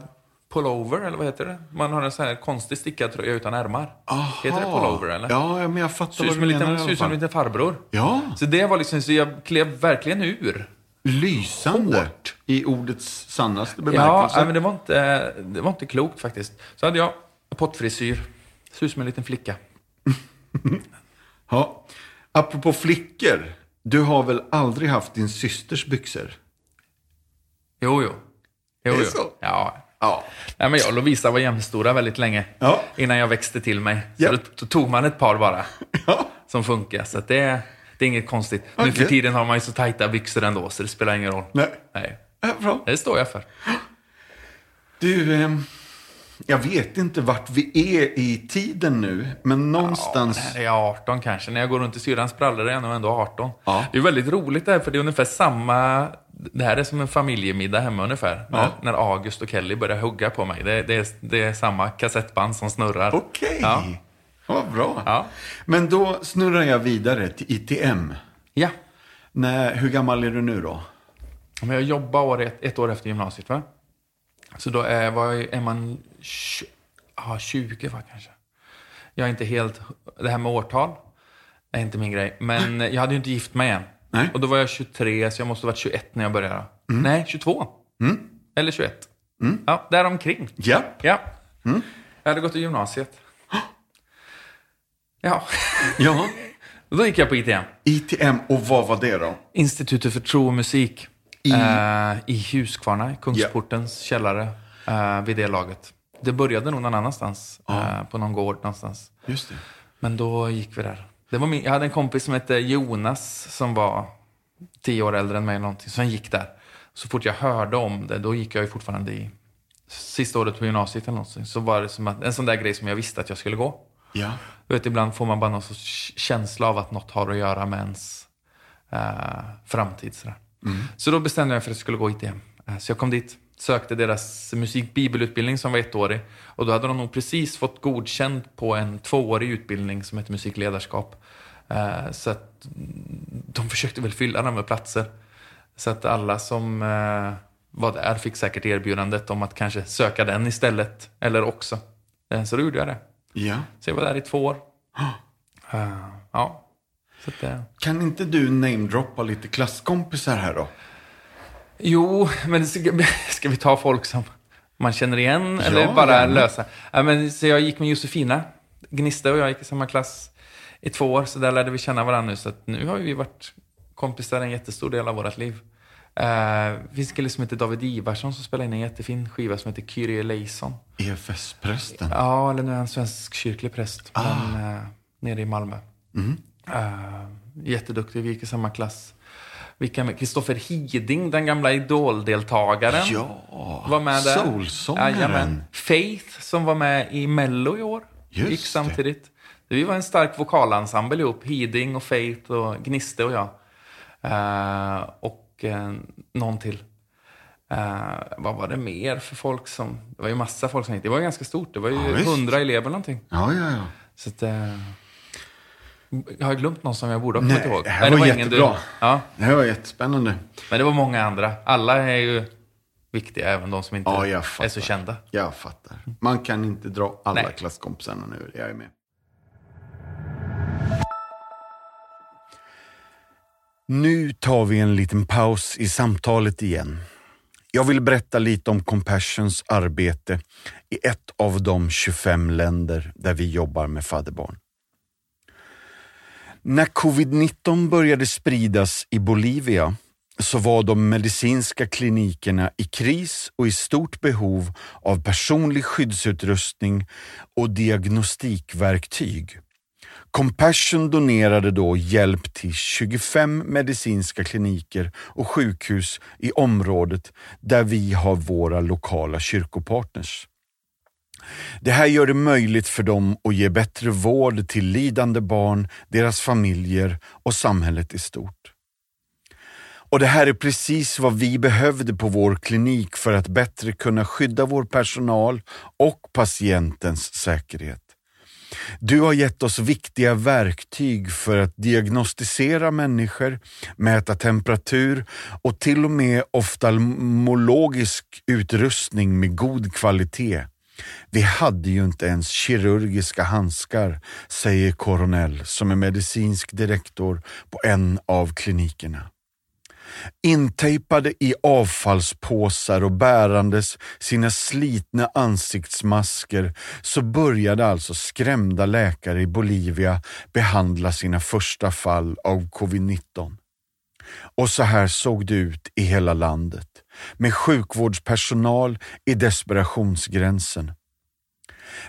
pullover eller vad heter det? Man har en sån här konstig stickad tröja utan ärmar. Heter det pullover eller?
Ja, ja, men jag fattar
Ser ut
vad
som
du
en
menar
liten,
i
ser
alla
ut som en
fall.
liten farbror.
Ja,
Så det var liksom, så jag klev verkligen ur.
lysande i ordets sannaste
Ja,
bemärkelse.
nej, men det liksom. var, inte, det var inte klokt faktiskt. Så hade jag pottfrisyr. Ser ut som en liten flicka.
ja. Apropå flickor, du har väl aldrig haft din systers byxor?
Jo, jo. jo,
Är det
jo.
så?
Ja.
Ja.
Nej, men jag och Lovisa var jämnstora väldigt länge.
Ja.
Innan jag växte till mig. Så
Ja.
då, då tog man ett par bara.
Ja.
Som funkar. Så att det, det är inget konstigt. Nu
Okej.
för tiden har man ju så tajta byxor ändå, så det spelar ingen roll.
Nej.
Nej.
Ja, Bra.
Det står jag för.
Du, ehm, jag vet inte vart vi är i tiden nu, men någonstans...
När jag är 18 kanske. När jag går runt i syrrans brallor är jag nog ändå 18.
Ja.
Det är väldigt roligt det här för det är ungefär samma Det här är som en familjemiddag hemma ungefär.
Ja.
När, när August och Kelly börjar hugga på mig. Det, det, är, det är samma kassettband som snurrar.
Okej.
Ja.
Vad bra.
Ja.
Men då snurrar jag vidare till ITM.
ja.
När, hur gammal är du nu då?
Men jag jobbade år ett, ett år efter gymnasiet. Va? Så då är, var jag, är man tj- ja, 20 va, kanske. Jag är inte helt... Det här med årtal är inte min grej. Men jag hade ju inte gift mig än.
Nej.
Och då var jag 23, så jag måste ha varit 21 när jag började. Nej, 22. Eller 21. Ja, däromkring.
Ja.
Ja. Jag hade gått i gymnasiet. Ja.
Ja.
Då gick jag på ITM.
ITM, och vad var det då?
Institutet för tro och musik. I, i Huskvarna, i Kungsportens källare. eh, vid det laget. Det började nog någon annanstans. eh, på någon gård någonstans.
Just det.
Men då gick vi där. Det var min, jag hade en kompis som hette Jonas som var tio år äldre än mig. eller Någonting, så han gick där. Så fort jag hörde om det, då gick jag ju fortfarande i sista året på gymnasiet eller någonting. Så var det som att, en sån där grej som jag visste att jag skulle gå.
Ja.
Du vet, ibland får man bara någon sorts känsla av att något har att göra med ens eh, framtid. Sådär. Så då bestämde jag mig för att jag skulle gå ITM. Eh, Så jag kom dit, sökte deras musikbibelutbildning som var ettårig. Och då hade de nog precis fått godkänt på en tvåårig utbildning som heter musikledarskap. Eh, så att mm, de försökte väl fylla den med platser. Så att alla som eh, var där fick säkert erbjudandet om att kanske söka den istället. Eller också. Eh, så då gjorde jag det.
Ja.
Så jag var där i två år. Eh, ja. Så att, eh.
Kan inte du namedroppa lite klasskompisar här då?
Jo, men ska, ska vi ta folk som man känner igen eller bara
gärna.
lösa? Ja, men, så jag gick med Josefina Gnista och jag gick i samma klass i två år. Så där lärde vi känna varandra nu. Så att nu har vi varit kompisar en jättestor del av vårt liv. Eh, det finns en kille som heter David Ivarsson som spelar in en jättefin skiva som heter Kyrie Eleison.
E EFS-prästen.
Ja, eller nu är han svensk kyrklig präst. Men, eh, nere i Malmö. Eh, jätteduktig, vi gick i samma klass. Vilka med? Kristoffer Hiding, den gamla idoldeltagaren.
Ja,
var med där.
soulsångaren.
Jajamän. Faith som var med i Mello i år.
Just
gick
det.
samtidigt. Vi var en stark vokalensemble ihop. Hiding och Faith och Gniste och jag. Eh, och eh, någon till. Eh, vad var det mer för folk som... Det var ju massa folk som gick. Det var ju ganska stort. Det var
Ja,
ju
visst.
hundra elever någonting.
Ja, ja, ja.
Så att, eh, har jag glömt någon som jag borde ha kommit
Nej,
ihåg?
det här var
ingen
jättebra.
du- Ja,
Det här var jättespännande.
men det var många andra. Alla är ju viktiga, även de som inte
Ja, jag
är
fattar.
så kända.
Jag fattar. Man kan inte dra alla
Nej.
klasskompisarna nu. Jag är med.
Nu tar vi en liten paus i samtalet igen. Jag vill berätta lite om Compassions arbete i ett av de 25 länder där vi jobbar med fadderbarn. När covid-19 började spridas i Bolivia så var de medicinska klinikerna i kris och i stort behov av personlig skyddsutrustning och diagnostikverktyg. Compassion donerade då hjälp till 25 medicinska kliniker och sjukhus i området där vi har våra lokala kyrkopartners. Det här gör det möjligt för dem att ge bättre vård till lidande barn, deras familjer och samhället i stort. Och det här är precis vad vi behövde på vår klinik för att bättre kunna skydda vår personal och patientens säkerhet. Du har gett oss viktiga verktyg för att diagnostisera människor, mäta temperatur och till och med oftalmologisk utrustning med god kvalitet. Vi hade ju inte ens kirurgiska handskar, säger Coronel som är medicinsk direktor på en av klinikerna intejpade i avfallspåsar och bärandes sina slitna ansiktsmasker så började alltså skrämda läkare i Bolivia behandla sina första fall av covid-19. Och så här såg det ut i hela landet, med sjukvårdspersonal i desperationsgränsen.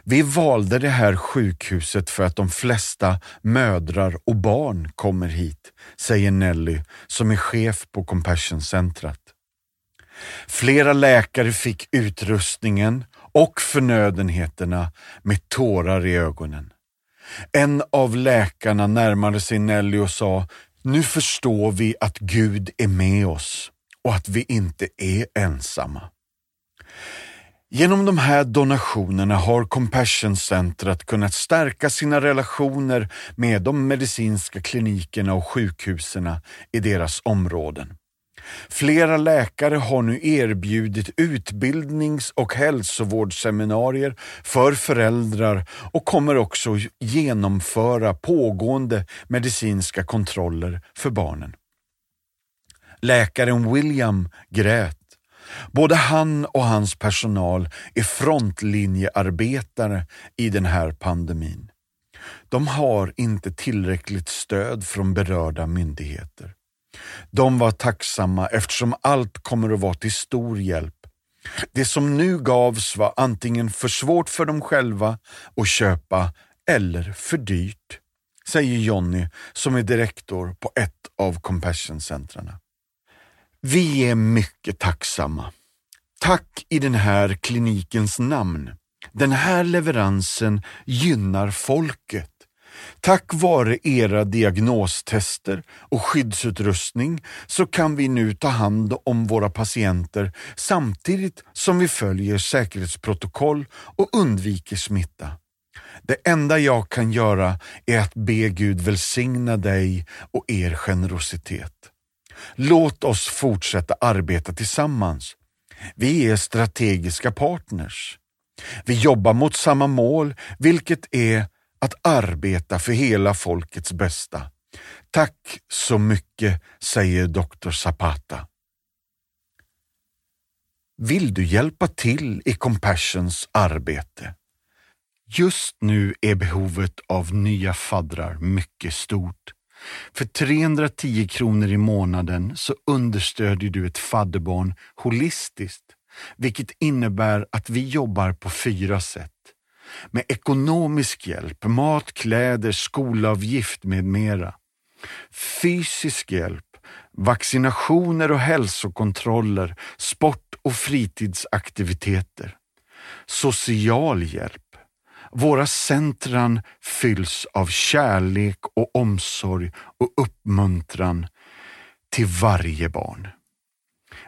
Vi valde det här sjukhuset för att de flesta mödrar och barn kommer hit, säger Nelly som är chef på Compassion-centret. Flera läkare fick utrustningen och förnödenheterna med tårar i ögonen. En av läkarna närmade sig Nelly och sa, nu förstår vi att Gud är med oss och att vi inte är ensamma. Genom de här donationerna har Compassion Centret kunnat stärka sina relationer med de medicinska klinikerna och sjukhusen i deras områden. Flera läkare har nu erbjudit utbildnings och hälsovårdsseminarier för föräldrar och kommer också genomföra pågående medicinska kontroller för barnen. Läkaren William grät. Både han och hans personal är frontlinjearbetare i den här pandemin. De har inte tillräckligt stöd från berörda myndigheter. De var tacksamma eftersom allt kommer att vara till stor hjälp. Det som nu gavs var antingen för svårt för dem själva att köpa eller för dyrt, säger Jonny som är direktor på ett av Compassion-centrarna. Vi är mycket tacksamma. Tack i den här klinikens namn. Den här leveransen gynnar folket. Tack vare era diagnostester och skyddsutrustning så kan vi nu ta hand om våra patienter samtidigt som vi följer säkerhetsprotokoll och undviker smitta. Det enda jag kan göra är att be Gud välsigna dig och er generositet. Låt oss fortsätta arbeta tillsammans. Vi är strategiska partners. Vi jobbar mot samma mål, vilket är att arbeta för hela folkets bästa. Tack så mycket, säger doktor Zapata. Vill du hjälpa till i Compassions arbete? Just nu är behovet av nya faddrar mycket stort. För 310 kronor i månaden så understödjer du ett fadderbarn holistiskt, vilket innebär att vi jobbar på fyra sätt med ekonomisk hjälp, mat, kläder, skolavgift med mera. Fysisk hjälp, vaccinationer och hälsokontroller, sport och fritidsaktiviteter. Social hjälp. Våra centran fylls av kärlek och omsorg och uppmuntran till varje barn.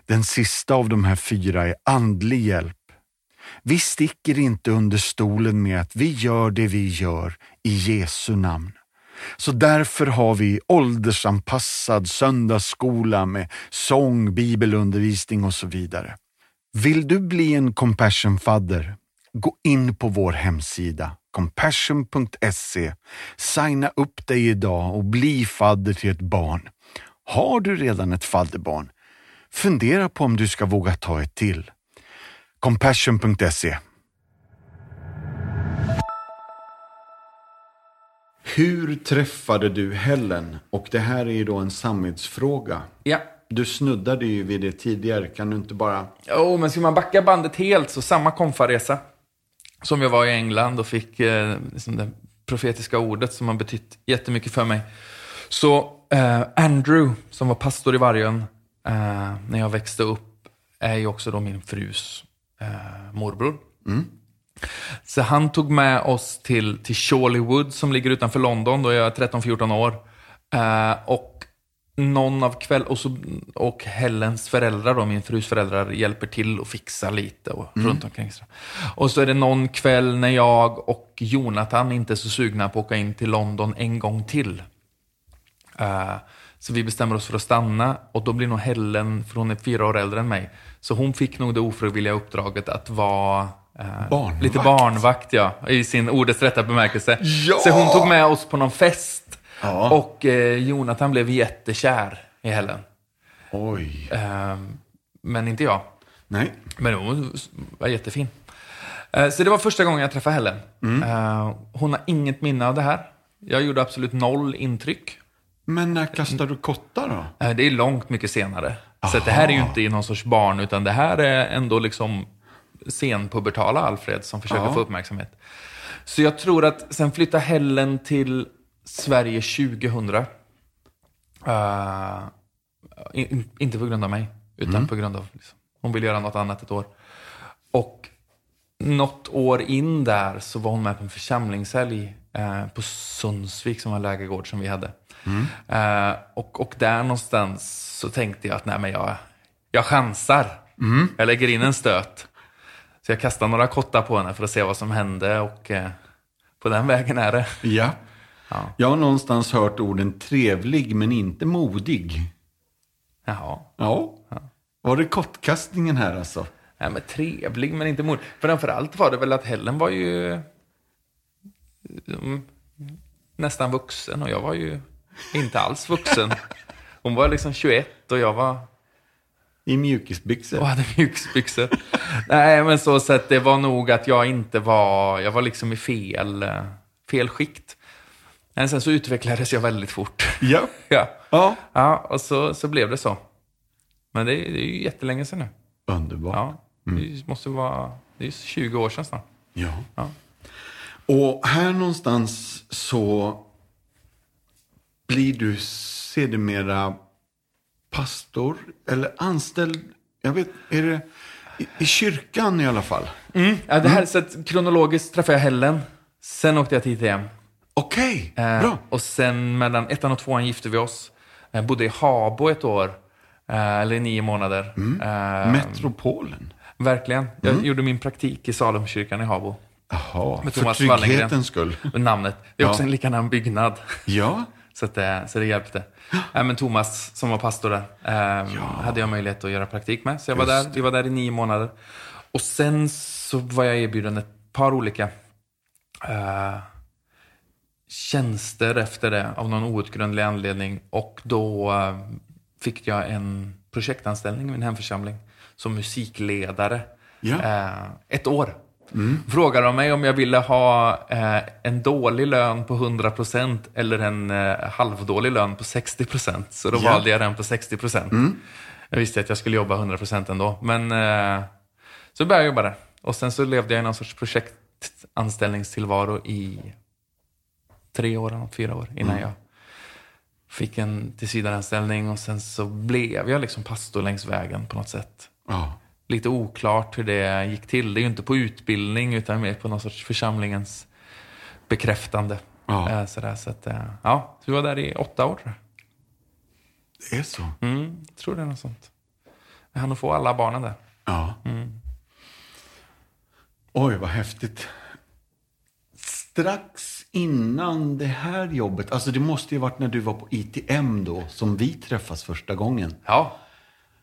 Den sista av de här fyra är andlig hjälp vi sticker inte under stolen med att vi gör det vi gör i Jesu namn. Så därför har vi åldersanpassad söndagsskola med sång, bibelundervisning och så vidare. Vill du bli en compassion fadder? Gå in på vår hemsida compassion.se, signa upp dig idag och bli fadder till ett barn. Har du redan ett fadderbarn? Fundera på om du ska våga ta ett till compassion.se.
Hur träffade du Helen? Och det här är ju då en samvetsfråga.
Ja.
Du snuddade ju vid det tidigare. Kan du inte bara...
Oh, men ska man backa bandet helt så samma konfaresa som jag var i England och fick eh, liksom det profetiska ordet som har betytt jättemycket för mig. Så eh, Andrew, som var pastor i Vargön eh, när jag växte upp, är ju också då min frus eh, morbror. Så han tog med oss till, till Shawleywood som ligger utanför London. Då jag är 13-14 år. Eh, och någon av kväll och, så, och Helens föräldrar, då, min frus föräldrar, hjälper till och fixar lite och runt omkring. Så. Och så är det någon kväll när jag och Jonathan inte är så sugna på att åka in till London en gång till. Eh, så vi bestämmer oss för att stanna och då blir nog Helen, för hon är fyra år äldre än mig, så hon fick nog det ofrivilliga uppdraget att vara eh,
Barnvakt.
lite barnvakt ja, i sin ordets rätta bemärkelse. Så hon tog med oss på någon fest och eh, Jonathan blev jättekär i Helen.
Oj.
Eh, men inte jag.
Nej.
Men hon var jättefin. Eh, Så det var första gången jag träffade Helen. Eh, Hon har inget minne av det här. Jag gjorde absolut noll intryck.
Men när kastade du kotta då?
Eh, Det är långt mycket senare. Så att det här är ju inte i någon sorts barn, utan det här är ändå liksom senpubertala Alfred som försöker få uppmärksamhet. Så jag tror att sen flyttade Helen till Sverige 2000. Eh, in, inte på grund av mig, utan på grund av liksom, hon ville göra något annat ett år. Och något år in där så var hon med på en församlingshelg eh, på Sundsvik som var en lägergård som vi hade. Eh, och, och där någonstans så tänkte jag att nej men jag, Jag chansar. Jag lägger in en stöt. Så jag kastar några kottar på henne för att se vad som hände och eh, på den vägen är det.
Ja. Jag har någonstans hört orden trevlig men inte modig.
Jaha.
Ja. Var det kottkastningen här alltså?
Nej, men trevlig men inte modig. Framförallt var det väl att Helen var ju mm, nästan vuxen och jag var ju inte alls vuxen. Hon var liksom 21 och jag var
I mjukisbyxor?
och hade mjukisbyxor. Nej, men så sett det var nog att jag inte var, jag var liksom i fel, eh, fel skikt. Men sen så utvecklades jag väldigt fort.
Ja.
ja.
ja.
ja, och så, så blev det så. Men det, är- det är ju jättelänge sedan nu.
Underbart.
Ja, det måste vara, det är ju 20 år sedan snart.
Ja.
Ja.
Och här någonstans så blir du sedermera pastor eller anställd. Jag vet, är det i, i kyrkan i alla fall?
Ja, det här,
Mm.
så att kronologiskt träffade jag Helen. Sen åkte jag till ITM.
Okej,
Eh,
bra.
Och sen mellan ettan och tvåan gifte vi oss. Eh, bodde i Habo ett år. Eh, eller i nio månader.
Mm. ehm.
Eh,
Metropolen.
verkligen. Jag
Mm.
gjorde min praktik i Salemkyrkan i Habo.
Jaha,
med
för
Thomas Wallengren.
trygghetens skull.
Och Namnet. Det är också
Ja.
en likadan byggnad.
Ja,
Så, att det, så det hjälpte. Äh, men Thomas som var pastor där eh, hade jag möjlighet att göra praktik med. Så jag var där, vi var där i nio månader. Och sen så var jag erbjuden ett par olika eh, tjänster efter det av någon outgrundlig anledning. Och då eh, fick jag en projektanställning i min hemförsamling som musikledare.
Ja. Mm.
Eh, ett år. Frågade de mig om jag ville ha eh, en dålig lön på 100% eller en eh, halvdålig lön på 60%. Så då
Ja. Mm.
valde jag den på 60%. Jag visste att jag skulle jobba 100% ändå. Men eh, så började jag jobba där. Och sen så levde jag i någon sorts projektanställningstillvaro i tre år, eller något, fyra år innan jag fick en tillsvidareanställning. Och sen så blev jag liksom pastor längs vägen på något sätt
ja.
lite oklart hur det gick till. Det är ju inte på utbildning utan mer på någon sorts församlingens bekräftande.
Ja.
Eh, Sådär, så att, eh, ja, så vi var där i åtta år. tror
det är så.
jag. Mm, jag tror det är något sånt. Jag hann att få alla barnen där.
Ja. Mm. Oj, vad häftigt. Strax innan det här jobbet, alltså det måste ju varit när du var på ITM då, som vi träffas första gången.
Ja,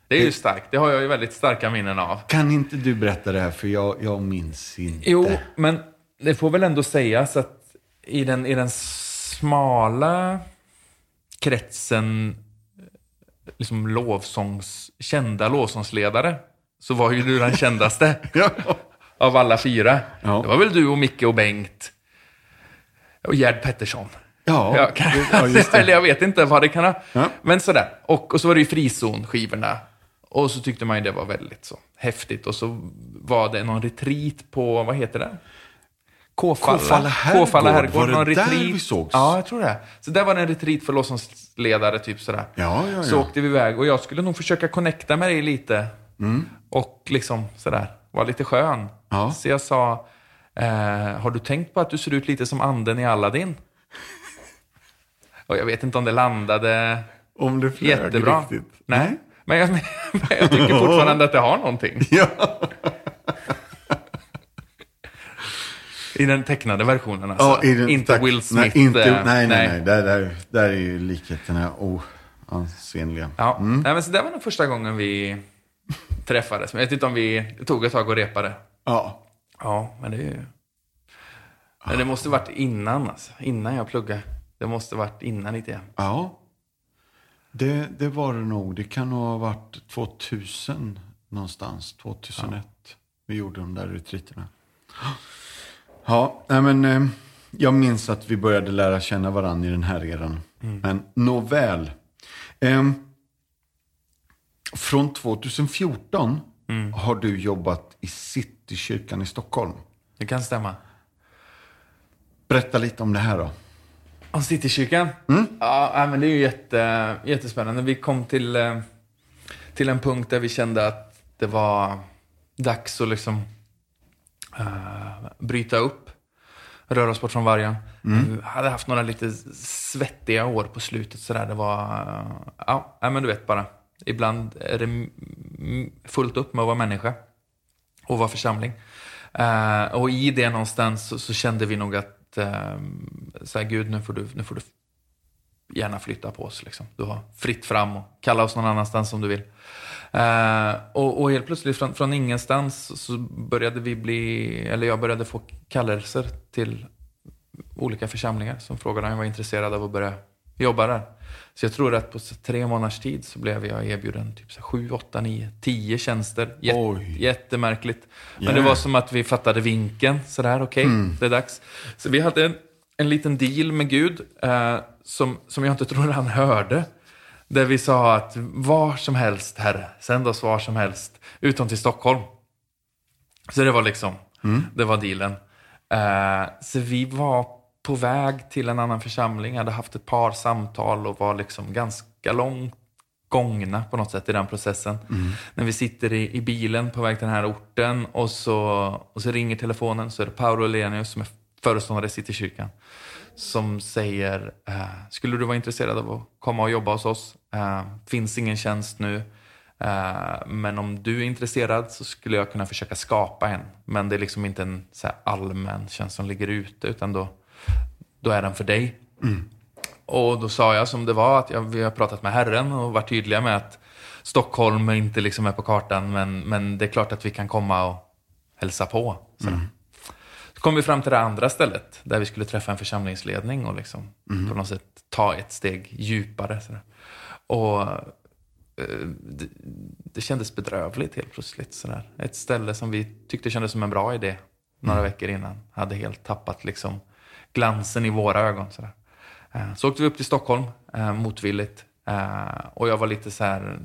det är ju starkt. Det har jag ju väldigt starka minnen av.
Kan inte du berätta det här, för jag, jag minns inte.
Jo, men det får väl ändå sägas att i den, i den smala kretsen liksom lovsångs, kända lovsångsledare så var ju du den kändaste av alla fyra.
Ja.
Det var väl du och Micke och Bengt och Gerd Pettersson.
Ja,
Jag kan,
ja, just det.
eller jag vet inte vad det kan ha.
Ja.
Men sådär. Och, och så var det ju frizonskivorna. Och så tyckte man ju det var väldigt så häftigt. Och så var det någon retreat på, vad heter det? Kåfalla.
Kåfalla herrgård.
Kåfalla herrgård.
Var det
någon
där
retreat.
vi sågs?
Ja, jag tror det. Så där var det en retreat för låtsasledare, typ sådär.
Ja, ja, ja.
Så åkte vi iväg och jag skulle nog försöka connecta med dig lite. Och liksom sådär, vara lite skön.
Mm. Ja.
Så jag sa, eh, har du tänkt på att du ser ut lite som anden i Aladdin? Och jag vet inte om det landade
Om det flög
jättebra.
riktigt.
Nej. Men jag, men jag tycker fortfarande att det har någonting.
Ja,
I den tecknade versionen alltså.
ja, är det,
inte
tack.
Will Smith.
Nej, inte,
eh,
nej, nej, nej. Där, där, där är ju likheterna oansenliga.
Ja. Nej, men så det var nog första gången vi träffades. Men jag vet inte om vi det tog ett tag och repade.
ja.
Ja, men det är ju... Men det måste varit innan alltså. Innan jag pluggade. Det måste varit innan lite grann.
Ja, det, det var det nog. Det kan nog ha varit 2000 någonstans. 2001. Vi gjorde de där retreaterna. Ja, nej men eh, jag minns att vi började lära känna varandra i den här eran. Men nåväl. Ehm, från 2014 har du jobbat i Citykyrkan i Stockholm.
Det kan stämma.
Berätta lite om det här då.
Om Citykyrkan? Ja, nej, men det är ju jätte, jättespännande. Vi kom till, eh, till en punkt där vi kände att det var dags att liksom eh, bryta upp. Röra oss bort från vargen. Vi hade haft några lite svettiga år på slutet sådär. Det var, eh, ja, nej, men du vet bara. Ibland är det m- fullt upp med att vara människa och vara församling. Eh, och i det någonstans så, så kände vi nog att eh, så här, Gud, nu får, du, nu får du gärna flytta på oss. Liksom. Du har fritt fram och kalla oss någon annanstans om du vill. Eh, och, och helt plötsligt från, från ingenstans så började vi bli, eller jag började få kallelser till olika församlingar som frågade om jag var intresserad av att börja jobba där. Så jag tror att på så tre månaders tid så blev jag erbjuden typ så här sju, åtta, nio, tio tjänster. Jät-
Oj.
jättemärkligt. Men
Yeah.
det var som att vi fattade vinken. Sådär, okej, det är dags. Så vi hade en, en liten deal med Gud eh, som, som jag inte tror han hörde. Där vi sa att var som helst, Herre, sänd oss var som helst, utom till Stockholm. Så det var liksom, det var dealen. Eh, så vi var på väg till en annan församling, hade haft ett par samtal och var liksom ganska långt gångna på något sätt i den processen. När vi sitter i, i bilen på väg till den här orten och så, och så ringer telefonen så är det Paolo Elenius som är föreståndare i Citykyrkan som säger eh, Skulle du vara intresserad av att komma och jobba hos oss? Eh, finns ingen tjänst nu. Eh, men om du är intresserad så skulle jag kunna försöka skapa en. Men det är liksom inte en så här, allmän tjänst som ligger ute utan då, då är den för dig. Och då sa jag som det var, att jag, vi har pratat med Herren och varit tydliga med att Stockholm inte liksom är på kartan, men, men det är klart att vi kan komma och hälsa på. Så, så kom vi fram till det andra stället, där vi skulle träffa en församlingsledning och liksom på något sätt ta ett steg djupare. Så, och eh, det, det kändes bedrövligt helt plötsligt. Så Ett ställe som vi tyckte kändes som en bra idé några veckor innan hade helt tappat liksom, glansen i våra ögon. Så Eh, Så åkte vi upp till Stockholm, eh, motvilligt. Eh, och jag var lite så här,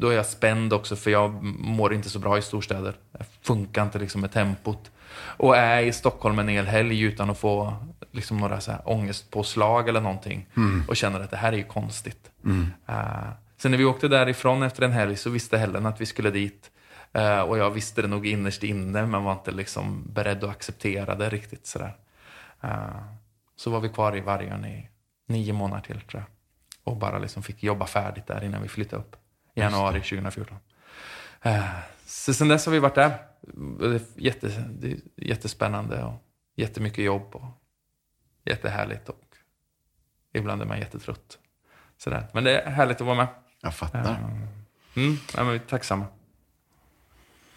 då är jag spänd också för jag mår inte så bra i storstäder. Jag funkar inte liksom med tempot. Och är i Stockholm en hel helg utan att få liksom några så här ångestpåslag eller någonting. Och känner att det här är ju konstigt. Eh, sen när vi åkte därifrån efter en helg så visste Helen att vi skulle dit. Eh, och jag visste det nog innerst inne men var inte liksom beredd att acceptera det riktigt. sådär. Eh, så var vi kvar i Vargön i nio månader till tror jag. Och bara liksom fick jobba färdigt där innan vi flyttade upp. I januari 2014. Eh, Så sen dess har vi varit där. Det är, jätte, det är jättespännande och jättemycket jobb. Och jättehärligt och ibland är man jättetrött. Sådär. Men det är härligt att vara med.
Jag fattar.
Mm, ja, men vi är tacksamma.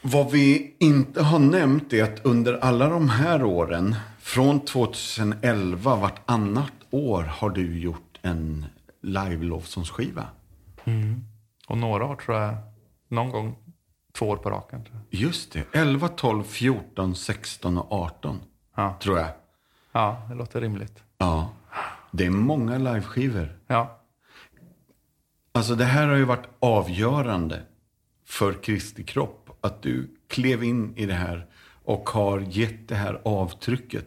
Vad vi inte har nämnt är att under alla de här åren, från 2011, vartannat år har du gjort en live-lovsångsskiva.
Och några år tror jag, någon gång två år på raken. Tror jag.
Just det, 11, 12, 14, 16 och 18.
Ja.
Tror jag.
Ja, det låter rimligt.
Ja. Det är många liveskivor.
Ja,
Alltså det här har ju varit avgörande för Kristi kropp. Att du klev in i det här och har gett det här avtrycket.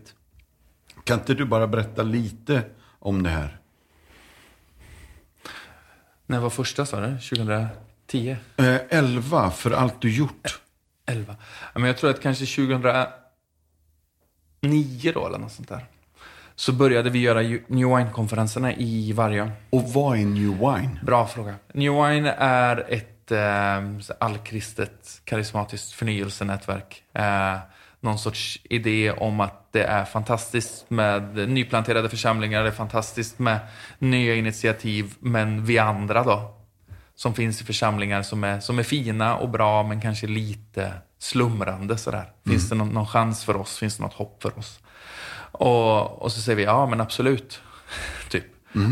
Kan inte du bara berätta lite om det här?
När var första sa du? 2010?
Eh, 11, för allt du gjort.
11? Ja, men jag tror att kanske 2009 då eller något sånt där. Så började vi göra ju- New Wine-konferenserna i Vargön.
Och vad är New Wine?
Bra fråga. New Wine är ett eh, så allkristet karismatiskt förnyelsenätverk. Eh, någon sorts idé om att det är fantastiskt med nyplanterade församlingar, det är fantastiskt med nya initiativ, men vi andra då? Som finns i församlingar som är, som är fina och bra, men kanske lite slumrande sådär. Finns det någon, någon chans för oss? Finns det något hopp för oss? Och, och så säger vi ja, men absolut. typ.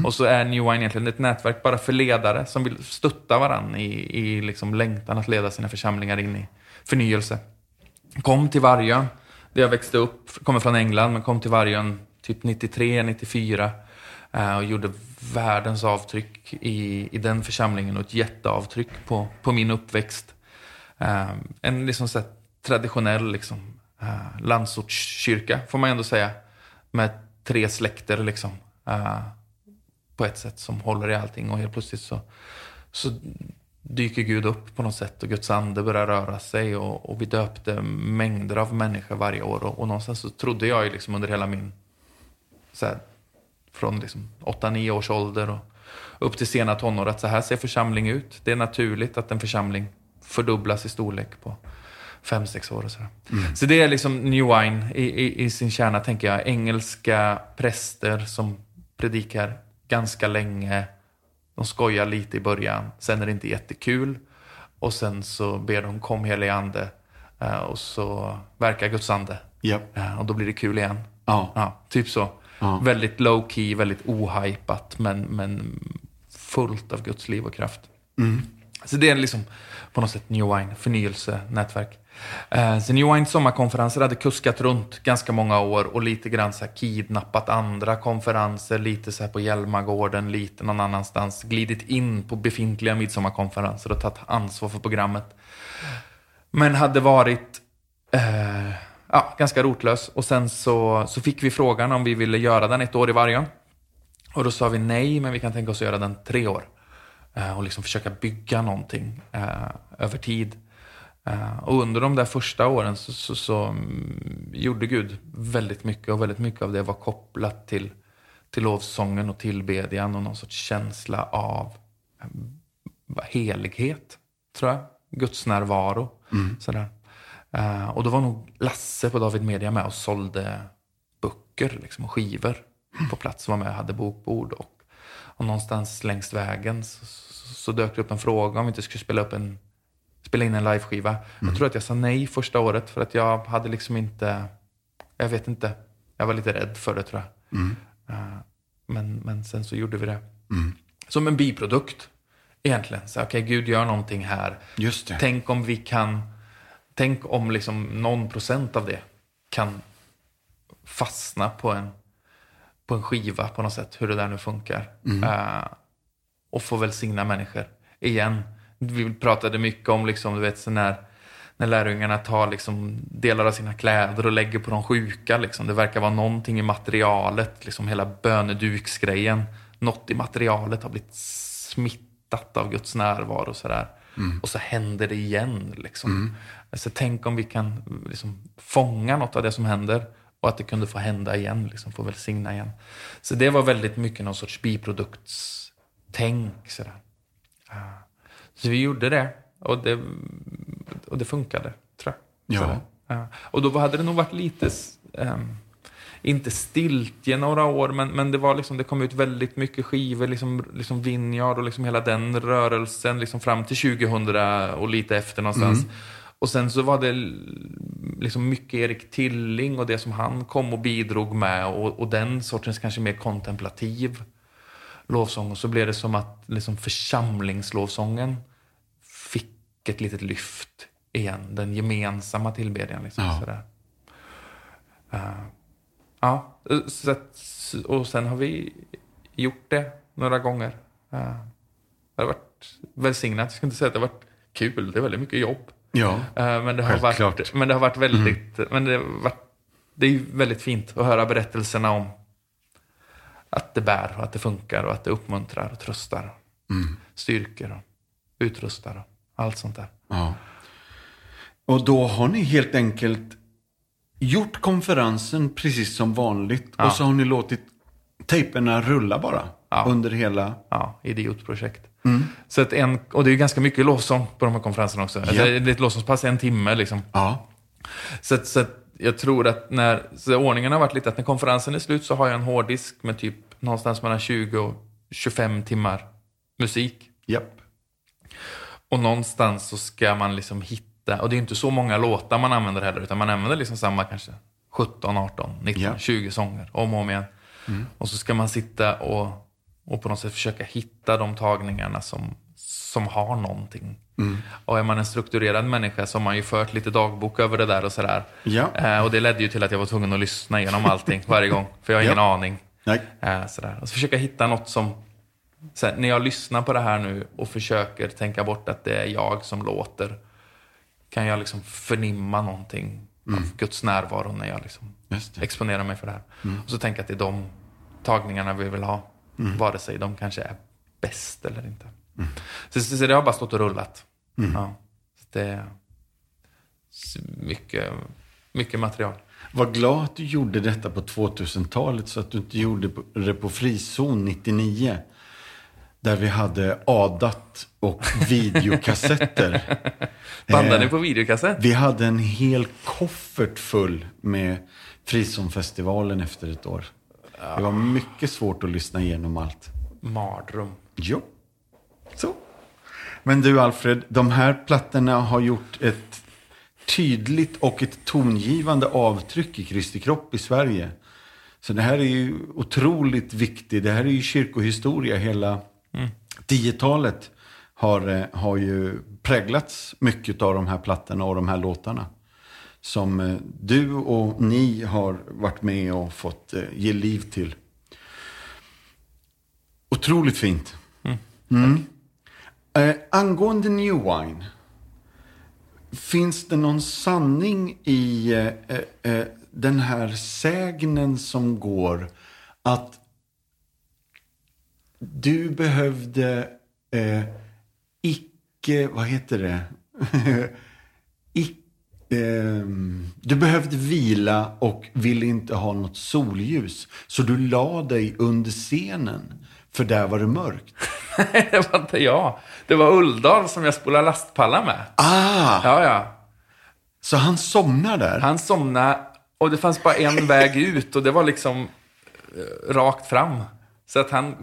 Och så är New Wine egentligen ett nätverk bara för ledare som vill stötta varandra i, i liksom längtan att leda sina församlingar in i förnyelse. Kom till Vargön, där jag växte upp, kommer från England, men kom till Vargön typ 93, 94 eh, och gjorde världens avtryck i, i den församlingen och ett jätteavtryck på, på min uppväxt. Eh, en liksom så här traditionell liksom, eh, landsortskyrka, får man ändå säga. Med tre släkter liksom. Eh, på ett sätt som håller i allting och helt plötsligt så, så dyker Gud upp på något sätt och Guds ande börjar röra sig och, och vi döpte mängder av människor varje år och, och någonstans så trodde jag ju liksom under hela min så här, från liksom 8-9 års ålder och upp till sena tonår att så här ser församling ut. Det är naturligt att en församling fördubblas i storlek på fem, sex år och sådär. Så det är liksom New Wine i, i, i sin kärna, tänker jag. Engelska präster som predikar ganska länge. De skojar lite i början, sen är det inte jättekul. Och sen så ber de kom helige ande eh, och så verkar Guds ande.
Ja.
Eh, Och då blir det kul igen.
Ja.
typ så. Väldigt low key, väldigt ohypat men, men fullt av Guds liv och kraft. Så det är liksom på något sätt New Wine, förnyelsenätverk. Eh, Så New Wine sommarkonferenser hade kuskat runt ganska många år och lite grann så här kidnappat andra konferenser, lite så här på Hjälmagården, lite någon annanstans. Glidit in på befintliga midsommarkonferenser och tagit ansvar för programmet. Men hade varit eh, ja, ganska rotlös. Och sen så, så fick vi frågan om vi ville göra den ett år i Vargön. Och då sa vi nej, men vi kan tänka oss att göra den tre år. Eh, och liksom försöka bygga någonting eh, över tid. Eh, och under de där första åren så, så, så mm, gjorde Gud väldigt mycket. Och väldigt mycket av det var kopplat till, till lovsången och tillbedjan och någon sorts känsla av va- helighet, tror jag. Guds närvaro. Sådär. Eh, och då var nog Lasse på David Media med och sålde böcker liksom, och skivor på plats. Var med och hade bokbord. Och, och någonstans längs vägen så, så, så dök det upp en fråga om vi inte skulle spela, upp en, spela in en liveskiva. Jag tror att jag sa nej första året för att jag hade liksom inte... Jag vet inte. Jag var lite rädd för det tror jag. Eh, men, men sen så gjorde vi det. Som en biprodukt egentligen. Så här, Okej, Gud gör någonting här.
Just det.
Tänk om vi kan... Tänk om liksom någon procent av det kan fastna på en, på en skiva på något sätt. Hur det där nu funkar.
Mm.
Eh, och få välsigna människor igen. Vi pratade mycket om liksom, du vet, så när, när lärjungarna tar liksom, delar av sina kläder och lägger på de sjuka. Liksom. Det verkar vara någonting i materialet, liksom hela böneduksgrejen. Något i materialet har blivit smittat av Guds närvaro. Och, sådär. och så händer det igen. Liksom. Så tänk om vi kan liksom, fånga något av det som händer. Och att det kunde få hända igen, liksom få välsigna igen. Så det var väldigt mycket någon sorts biproduktstänk. Sådär. Ah. Så vi gjorde det och det, och det funkade, tror jag.
Ja.
Sådär. Ja. Och då hade det nog varit lite, s- ehm, inte stiltje några år, men, men det, var liksom, det kom ut väldigt mycket skivor, liksom, liksom Vineyard och liksom hela den rörelsen liksom fram till 2000 och lite efter någonstans. Och sen så var det l- liksom mycket Erik Tilling och det som han kom och bidrog med och, och den sortens kanske mer kontemplativ lovsång. Och så blev det som att liksom församlingslovsången fick ett litet lyft igen. Den gemensamma tillbedjan. Liksom,
Ja.
Sådär. Eh, ja, så att, och sen har vi gjort det några gånger. Eh, det har varit välsignat. Jag ska inte säga att det har varit kul. Det är väldigt mycket jobb.
Ja.
Eh, Men det, har
Självklart.
varit, men det har varit väldigt, men det, har varit, det är ju väldigt fint att höra berättelserna om att det bär och att det funkar och att det uppmuntrar och tröstar. Styrker och utrustar och allt sånt där.
ja. Och då har ni helt enkelt gjort konferensen precis som vanligt. Och så har ni låtit tejperna rulla bara. Under hela...
Ja, idiotprojekt. Så att en, och det är ju ganska mycket lovsång på de här konferenserna också. Alltså, det är ett lovsångspass i en timme liksom.
Ja.
Så, att, så att jag tror att när, så ordningen har varit lite att när konferensen är slut så har jag en hårddisk med typ någonstans mellan 20 och 25 timmar musik.
Japp.
Och någonstans så ska man liksom hitta, och det är ju inte så många låtar man använder heller, utan man använder liksom samma kanske 17, 18, 19,
Ja. Mm.
20 sånger om och om igen. Och så ska man sitta och, och på något sätt försöka hitta de tagningarna som, som har någonting.
Mm.
Och är man en strukturerad människa så har man ju fört lite dagbok över det där och sådär.
Ja.
Eh, och det ledde ju till att jag var tvungen att lyssna igenom allting varje gång, för jag har ingen aning.
Nej.
Eh, sådär. Och så försöka hitta något som... Såhär, när jag lyssnar på det här nu och försöker tänka bort att det är jag som låter. Kan jag liksom förnimma någonting
Mm.
av Guds närvaro när jag liksom
Just det.
exponerar mig för det här. Och så tänka att det är de tagningarna vi vill ha. Vare sig de kanske är bäst eller inte. Så, så, så det har bara stått och rullat. Ja. Så det är s- mycket, mycket material.
Var glad att du gjorde detta på 2000-talet så att du inte gjorde det på frizon 99. Där vi hade adat och videokassetter.
Bandade
Eh,
ni på videokassett?
Vi hade en hel koffert full med Frizonfestivalen efter ett år. Det var mycket svårt att lyssna igenom allt.
Mardröm.
Jo. Så. Men du Alfred, de här plattorna har gjort ett tydligt och ett tongivande avtryck i Kristi kropp i Sverige. Så det här är ju otroligt viktigt. Det här är ju kyrkohistoria. Hela 10-talet har, eh, har ju präglats mycket av de här plattorna och de här låtarna. Som eh, du och ni har varit med och fått eh, ge liv till. Otroligt fint. Mm. Eh, angående New Wine. Finns det någon sanning i eh, eh, eh, den här sägnen som går att du behövde eh, icke, vad heter det? Ic, ehm, du behövde vila och ville inte ha något solljus. Så du la dig under scenen, för där var det mörkt.
det var inte jag. Det var Ulldal som jag spolade lastpallar med.
Ah,
Ja, ja.
så han somnar där?
Han somnade och det fanns bara en väg ut och det var liksom eh, rakt fram. Så att han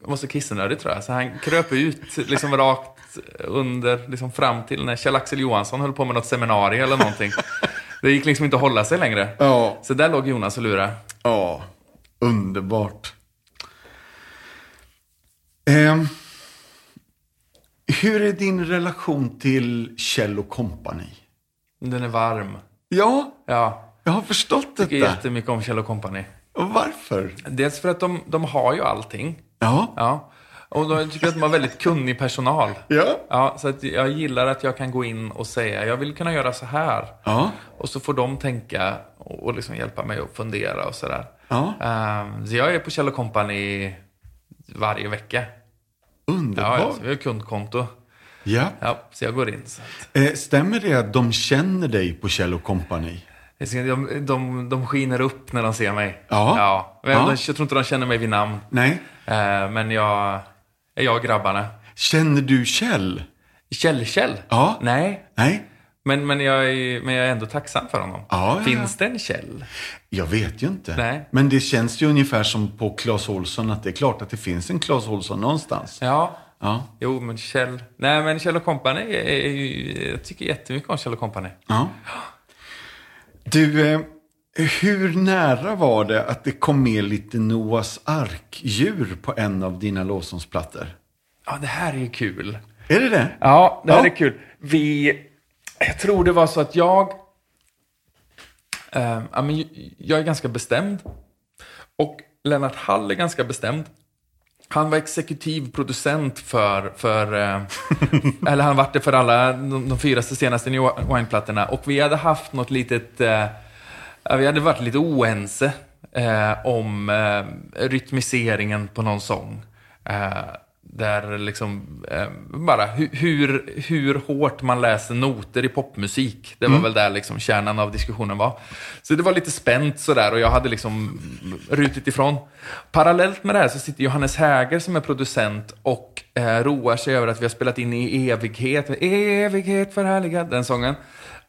var så kissnödig tror jag. Så han kröp ut liksom rakt under, liksom fram till när Kjell-Axel Johansson höll på med något seminarium eller någonting. Det gick liksom inte att hålla sig längre.
Ja.
Så där låg Jonas och lurade.
Ja, underbart. Ehm, hur är din relation till Kjell och Company?
Den är varm.
Ja,
Ja,
jag har förstått
jag tycker
detta.
jättemycket om Kjell Company.
Och Varför?
Dels för att de, de har ju allting.
Ja,
Ja. Och då tycker jag att de har väldigt kunnig personal.
ja,
Ja, så att jag gillar att jag kan gå in och säga, jag vill kunna göra så här.
ja,
Och så får de tänka och, och liksom hjälpa mig att fundera och sådär.
ja.
Ehm, så jag är på Kjell Company varje vecka. Ja, ja,
Underbart.
så vi har kundkonto.
Ja.
Ja, så jag går in. Så att,
Eh, stämmer det att de känner dig på Kjell och Company?
jag ser- de, de, de skiner upp när de ser mig.
Ja.
ja. Men
Ja.
De, jag tror inte de känner mig vid namn.
Nej.
Ehm, men jag, jag och grabbarna.
Känner du Kjell?
Kjell-Kjell?
Ja.
Nej,
Nej.
Men, men, jag är, men jag är ändå tacksam för honom.
Ja, ja,
Finns det en Kjell?
Jag vet ju inte.
Nej.
Men det känns ju ungefär som på Clas Ohlson att det är klart att det finns en Clas Ohlson någonstans.
Ja.
Ja.
Jo, men Kjell... Nej, men Kjell Company är, är ju... Jag tycker jättemycket om Kjell Company.
Ja. Du, eh, hur nära var det att det kom med lite Noahs arkdjur på en av dina lovsångsplattor?
Ja, det här är ju kul.
Är det det?
Ja, det
här
här
är
är kul. Vi... Jag tror det var så att jag... eh, ja, men jag är ganska bestämd. Och Lennart Hall är ganska bestämd. Han var exekutiv producent för, för eh, eller han vart det för alla de, de fyra senaste New Wine-plattorna. Och vi hade haft något litet, eh, ja, vi hade varit lite oense eh, om eh, rytmiseringen på någon sång. Eh, där liksom, eh, bara hu, hur, hur hårt man läser noter i popmusik. Det var väl där liksom kärnan av diskussionen var. Så det var lite spänt sådär och jag hade liksom rutit ifrån. Parallellt med det här så sitter Johannes Häger som är producent och eh, roar sig över att vi har spelat in i evighet. Evighet förhärligad, den sången.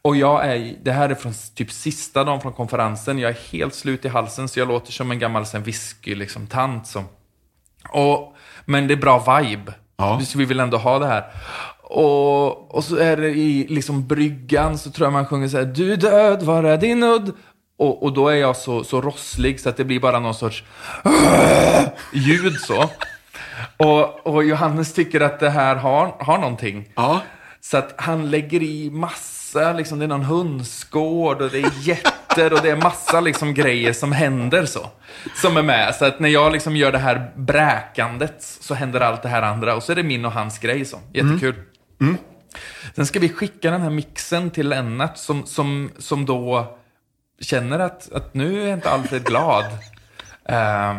Och jag är, det här är från typ sista dagen från konferensen. Jag är helt slut i halsen så jag låter som en gammal sen whisky liksom tant som... Och, men det är bra vibe.
Ja.
Så vi vill ändå ha det här. Och, och så är det i liksom bryggan så tror jag man sjunger så här Du är död, var är din udd? Och, och då är jag så, så rosslig så att det blir bara någon sorts ljud så. Och, och Johannes tycker att det här har, har någonting.
Ja.
Så att han lägger i massa, liksom, det är någon hönsgård och det är jätter och det är massa liksom, grejer som händer så. Som är med. Så att när jag liksom gör det här bräkandet så händer allt det här andra. Och så är det min och hans grej så. Jättekul. Sen ska vi skicka den här mixen till Lennart som, som, som då känner att, att nu är inte Alfred glad. Eh,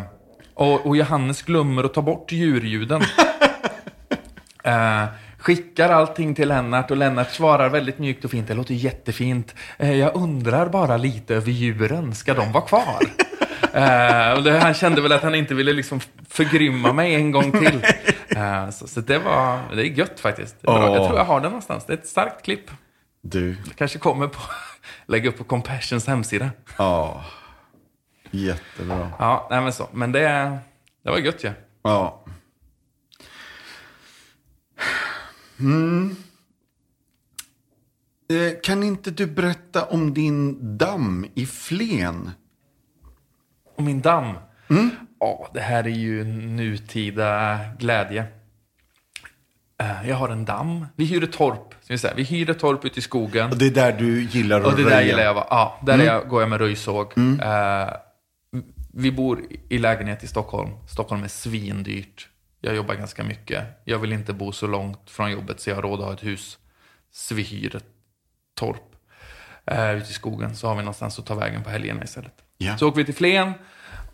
och, och Johannes glömmer att ta bort djurljuden. Eh, skickar allting till Lennart och Lennart svarar väldigt mjukt och fint. Det låter jättefint. Eh, jag undrar bara lite över djuren. Ska de vara kvar? Ehm, Eh, och det, han kände väl att han inte ville liksom förgrymma mig en gång till. Eh, Eh, Så, så det var det är gött faktiskt. Det är bra.
Åh.
Jag tror jag har det någonstans. Det är ett starkt klipp.
Du,
Det kanske kommer på... Lägga upp på Compassions hemsida.
ja. Jättebra.
Ja, nej men så. Men det, det var gött ju. Ja.
Ja. Mm. Hmm. Eh, Kan inte du berätta om din damm i Flen?
Och min damm. Ja, det här är ju nutida glädje. Eh, Jag har en damm. Vi hyr ett torp. Ska vi, säga. vi hyr ett torp ute i skogen.
Och det är där du gillar att
Och det där
röja.
gillar jag. va? Ja, där är jag, går jag med röjsåg. Eh, vi bor i lägenhet i Stockholm. Stockholm är svindyrt. Jag jobbar ganska mycket. Jag vill inte bo så långt från jobbet så jag har råd att ha ett hus. Så vi hyr ett torp eh, ute i skogen. Så har vi någonstans att ta vägen på helgerna istället.
Ja.
Så åker vi till Flen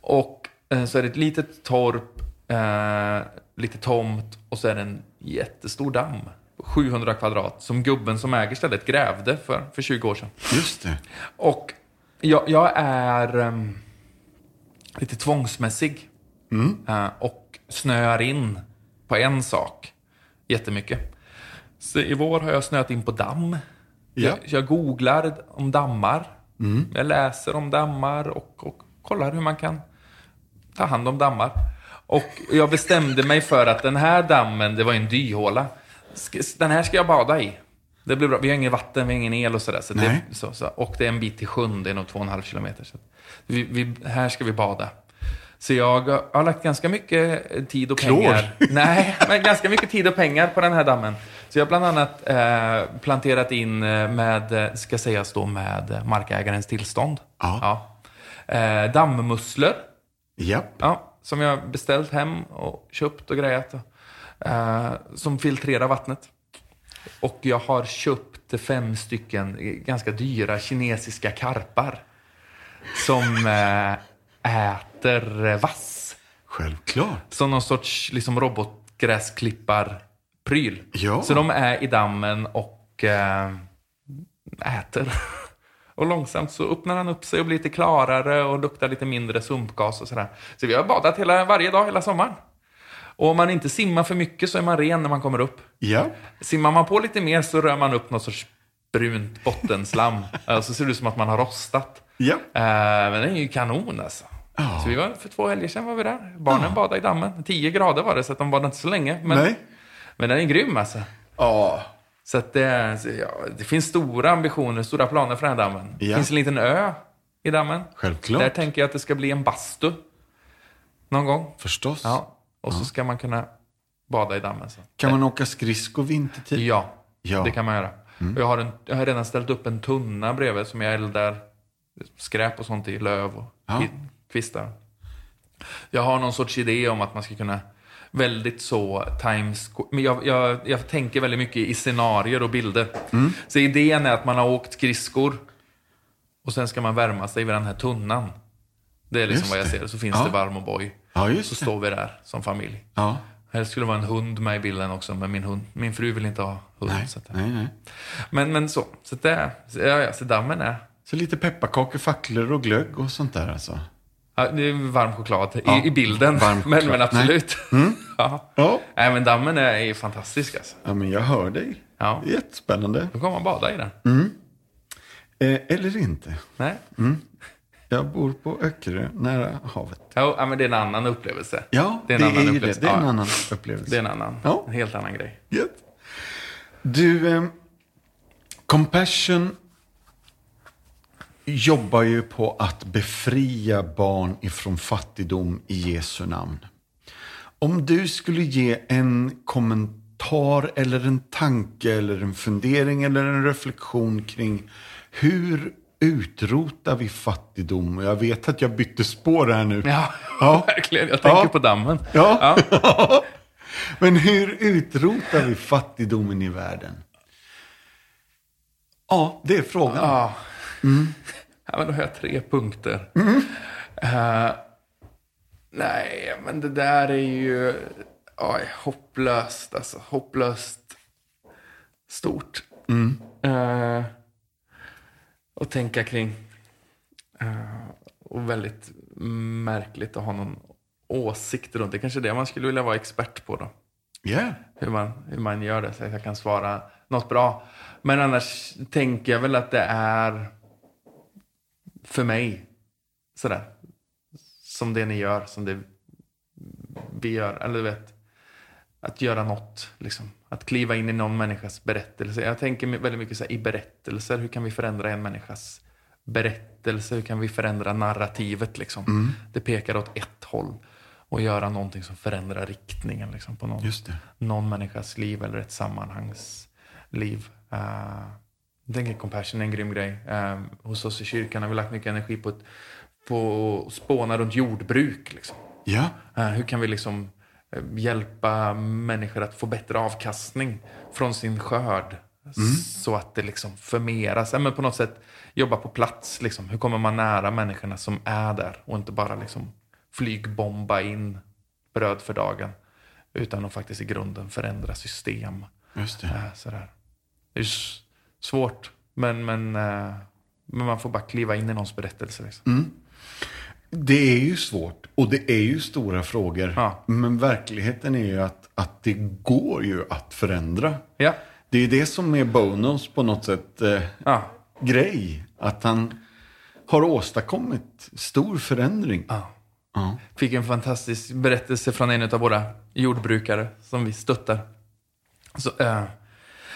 och eh, så är det ett litet torp, eh, lite tomt och så är det en jättestor damm. 700 kvadrat som gubben som äger stället grävde för, för 20 år sedan.
Just det.
Och jag, jag är ehm, lite tvångsmässig. Eh, och snöar in på en sak jättemycket. Så i vår har jag snöat in på damm.
Ja.
Jag, jag googlar om dammar. Jag läser om dammar och, och kollar hur man kan ta hand om dammar. Och jag bestämde mig för att den här dammen, det var ju en dyhåla. Ska- Den här ska jag bada i. Det blir bra. Vi har ingen vatten, vi har ingen el och sådär. Så det,
Nej.
så, så. Och det är en bit till sjön, det är nog två och en halv kilometer. Så att vi, vi, här ska vi bada. Så jag har lagt ganska mycket tid och
Klor.
pengar. Nej, men ganska mycket tid och pengar på den här dammen. Så jag har bland annat eh, planterat in eh, med, eh, ska sägas då, med markägarens tillstånd.
Ja.
Ja. Eh, dammmusslor.
Japp.
Ja, som jag beställt hem och köpt och grejat. Eh, som filtrerar vattnet. Och jag har köpt fem stycken eh, ganska dyra kinesiska karpar. Som eh, äter eh, vass.
Självklart.
Som någon sorts liksom, robotgräsklipparpryl.
Ja.
Så de är i dammen och eh, äter. Och långsamt så öppnar han upp sig och blir lite klarare och luktar lite mindre sumpgas och sådär. Så vi har badat hela, varje dag hela sommaren. Och om man inte simmar för mycket så är man ren när man kommer upp.
Japp.
Simmar man på lite mer så rör man upp något sorts brunt bottenslam. Eh, så ser det ut som att man har rostat.
Japp.
Eh, men den är ju kanon alltså.
Ja.
Så vi var, för två helger sedan var vi där. Barnen badade i dammen. 10 grader var det, så att de badade inte så länge. Men,
Nej.
men den är grym alltså.
Ja.
Så att det, så ja, det finns stora ambitioner, stora planer för den här dammen. Det
Ja.
finns en liten ö i dammen.
Självklart.
Där tänker jag att det ska bli en bastu. Någon gång.
Förstås.
Ja. Och så ska man kunna bada i dammen. Så.
Kan man åka skridskor vintertid?
Ja,
Ja. Mm.
det kan man göra. Och Jag, har en, jag har redan ställt upp en tunna bredvid som jag eldar skräp och sånt i, löv och
Ja.
kvi- kvistar. Jag har någon sorts idé om att man ska kunna väldigt så times... Men jag, jag, jag tänker väldigt mycket i scenarier och bilder.
Mm.
Så idén är att man har åkt skridskor och sen ska man värma sig vid den här tunnan. Det är liksom
Just
vad jag
det.
ser. Så finns
Ja.
det varm och boj.
Ja, just
så
det.
står vi där som familj.
Ja.
Helst skulle det vara en hund med i bilden också, men min, hund, min fru vill inte ha hund.
Nej.
Så att,
nej, nej.
men, men så, så det, så, ja, ja, så dammen är.
Så lite pepparkakor, facklor och glögg och sånt där alltså.
Ja, det är varm choklad i,
Ja,
i bilden,
varm
men,
choklad. Mm.
men absolut. ja.
Ja.
Nej, men dammen är, är fantastisk alltså.
Ja, men jag hör dig.
Ja.
Det är jättespännande.
Då kommer man bada i den.
Mm. Eh, eller inte.
Nej?
Jag bor på Öckerö, nära havet.
Jo, ja, men det är en annan upplevelse.
Ja,
det är en annan
ju
upplevelse.
Det. det är en
Ja,
annan upplevelse.
det är en annan,
Ja.
en helt annan grej.
Gött. Du, eh, Compassion jobbar ju på att befria barn ifrån fattigdom i Jesu namn. Om du skulle ge en kommentar eller en tanke eller en fundering eller en reflektion kring hur utrotar vi fattigdom? Och Jag vet att jag bytte spår här nu.
Ja,
Ja.
verkligen. Jag tänker
Ja.
på dammen.
Ja. Men hur utrotar vi fattigdomen i världen? Ja, det är frågan.
Ja. ja men då har jag tre punkter. Eh, nej, men det där är ju oj, hopplöst. Alltså, hopplöst stort. Eh, och tänka kring. Eh, och väldigt märkligt att ha någon åsikt runt det. Kanske det man skulle vilja vara expert på då.
Yeah.
hur man, hur man gör det så att jag kan svara något bra. Men annars tänker jag väl att det är för mig sådär som det ni gör, som det vi gör. Eller du vet, att göra något, liksom. att kliva in i någon människas berättelse. Jag tänker väldigt mycket så här, i berättelser, hur kan vi förändra en människas berättelse? Hur kan vi förändra narrativet? Liksom? Det pekar åt ett håll. Och göra någonting som förändrar riktningen liksom, på någon
Just det.
någon människas liv eller ett sammanhangs liv. Eh, jag tänker compassion är en grym grej. Eh, hos oss i kyrkan har vi lagt mycket energi på, ett, på att spåna runt jordbruk. Liksom.
Ja.
Eh, hur kan vi liksom eh, hjälpa människor att få bättre avkastning från sin skörd?
Mm.
Så att det liksom förmeras. Ja, men på något sätt jobba på plats. Liksom. Hur kommer man nära människorna som är där? Och inte bara liksom flygbomba in bröd för dagen. Utan att faktiskt i grunden förändra system.
Just det.
Eh, Sådär. Det är ju s- svårt. Men, men, eh, men man får bara kliva in i någons berättelse. Liksom.
Mm. Det är ju svårt och det är ju stora frågor.
Ja.
Men verkligheten är ju att, att det går ju att förändra.
Ja.
Det är det som är Bonos på något sätt eh,
Ja.
grej. Att han har åstadkommit stor förändring.
Ja.
Ja.
fick en fantastisk berättelse från en av våra jordbrukare som vi stöttar. Så, eh,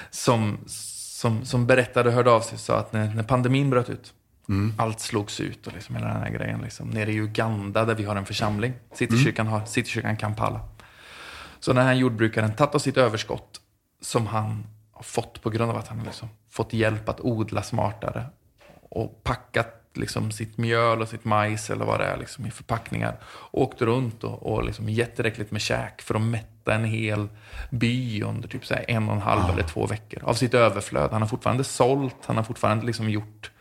som, som, som berättade och hörde av sig och sa att när, när pandemin bröt ut, allt slogs ut och liksom hela den här grejen. Liksom. Nere i Uganda där vi har en församling, Citykyrkan, har, Citykyrkan Kampala. Så den här jordbrukaren tagit av sitt överskott som han har fått på grund av att han liksom fått hjälp att odla smartare och packat liksom sitt mjöl och sitt majs eller vad det är liksom i förpackningar. Och åkt runt och, och liksom gett tillräckligt med käk för att mätta en hel by under typ så här en och en halv eller två veckor av sitt överflöd. Han har fortfarande sålt, han har fortfarande liksom gjort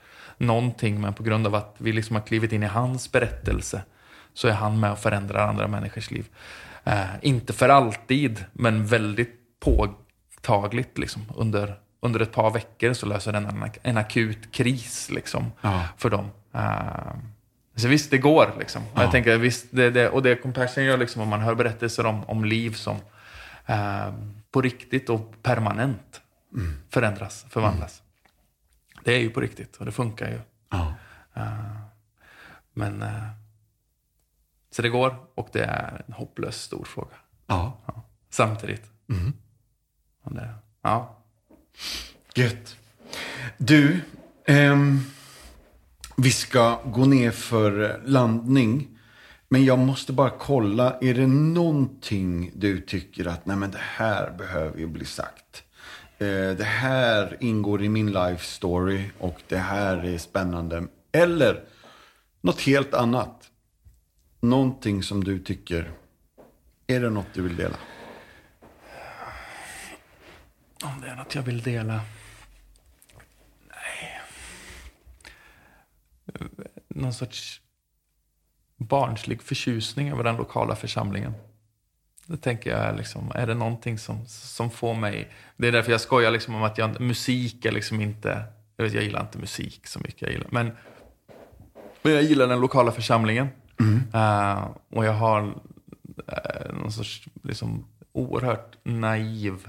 någonting men på grund av att vi liksom har klivit in i hans berättelse så är han med och förändrar andra människors liv. Eh, inte för alltid, men väldigt påtagligt. Liksom. Under, under ett par veckor så löser den en, ak- en akut kris liksom,
Ja.
för dem. Eh, så visst, det går. Liksom. Och, jag tänker, visst, det, det, och det Compassion gör, liksom, om man hör berättelser om, om liv som eh, på riktigt och permanent förändras, förvandlas. Det är ju på riktigt och det funkar ju.
Ja.
Men... eh, Så det går och det är en hopplöst stor fråga.
ja.
Ja. Samtidigt. Och det, ja.
Gött. Du, ehm, vi ska gå ner för landning. Men jag måste bara kolla, är det någonting du tycker att nej men det här behöver ju bli sagt? Eh, det här ingår i min life story och det här är spännande. Eller något helt annat. Någonting som du tycker, är det något du vill dela?
Om det är något jag vill dela. Nej. Någon sorts barnslig förtjusning över den lokala församlingen. Det tänker jag är liksom, är det någonting som, som får mig... Det är därför jag skojar liksom om att jag, musik är liksom inte... Jag, vet, jag gillar inte musik så mycket. Jag gillar, men, men jag gillar den lokala församlingen. Eh, och jag har eh, någon sorts liksom, oerhört naiv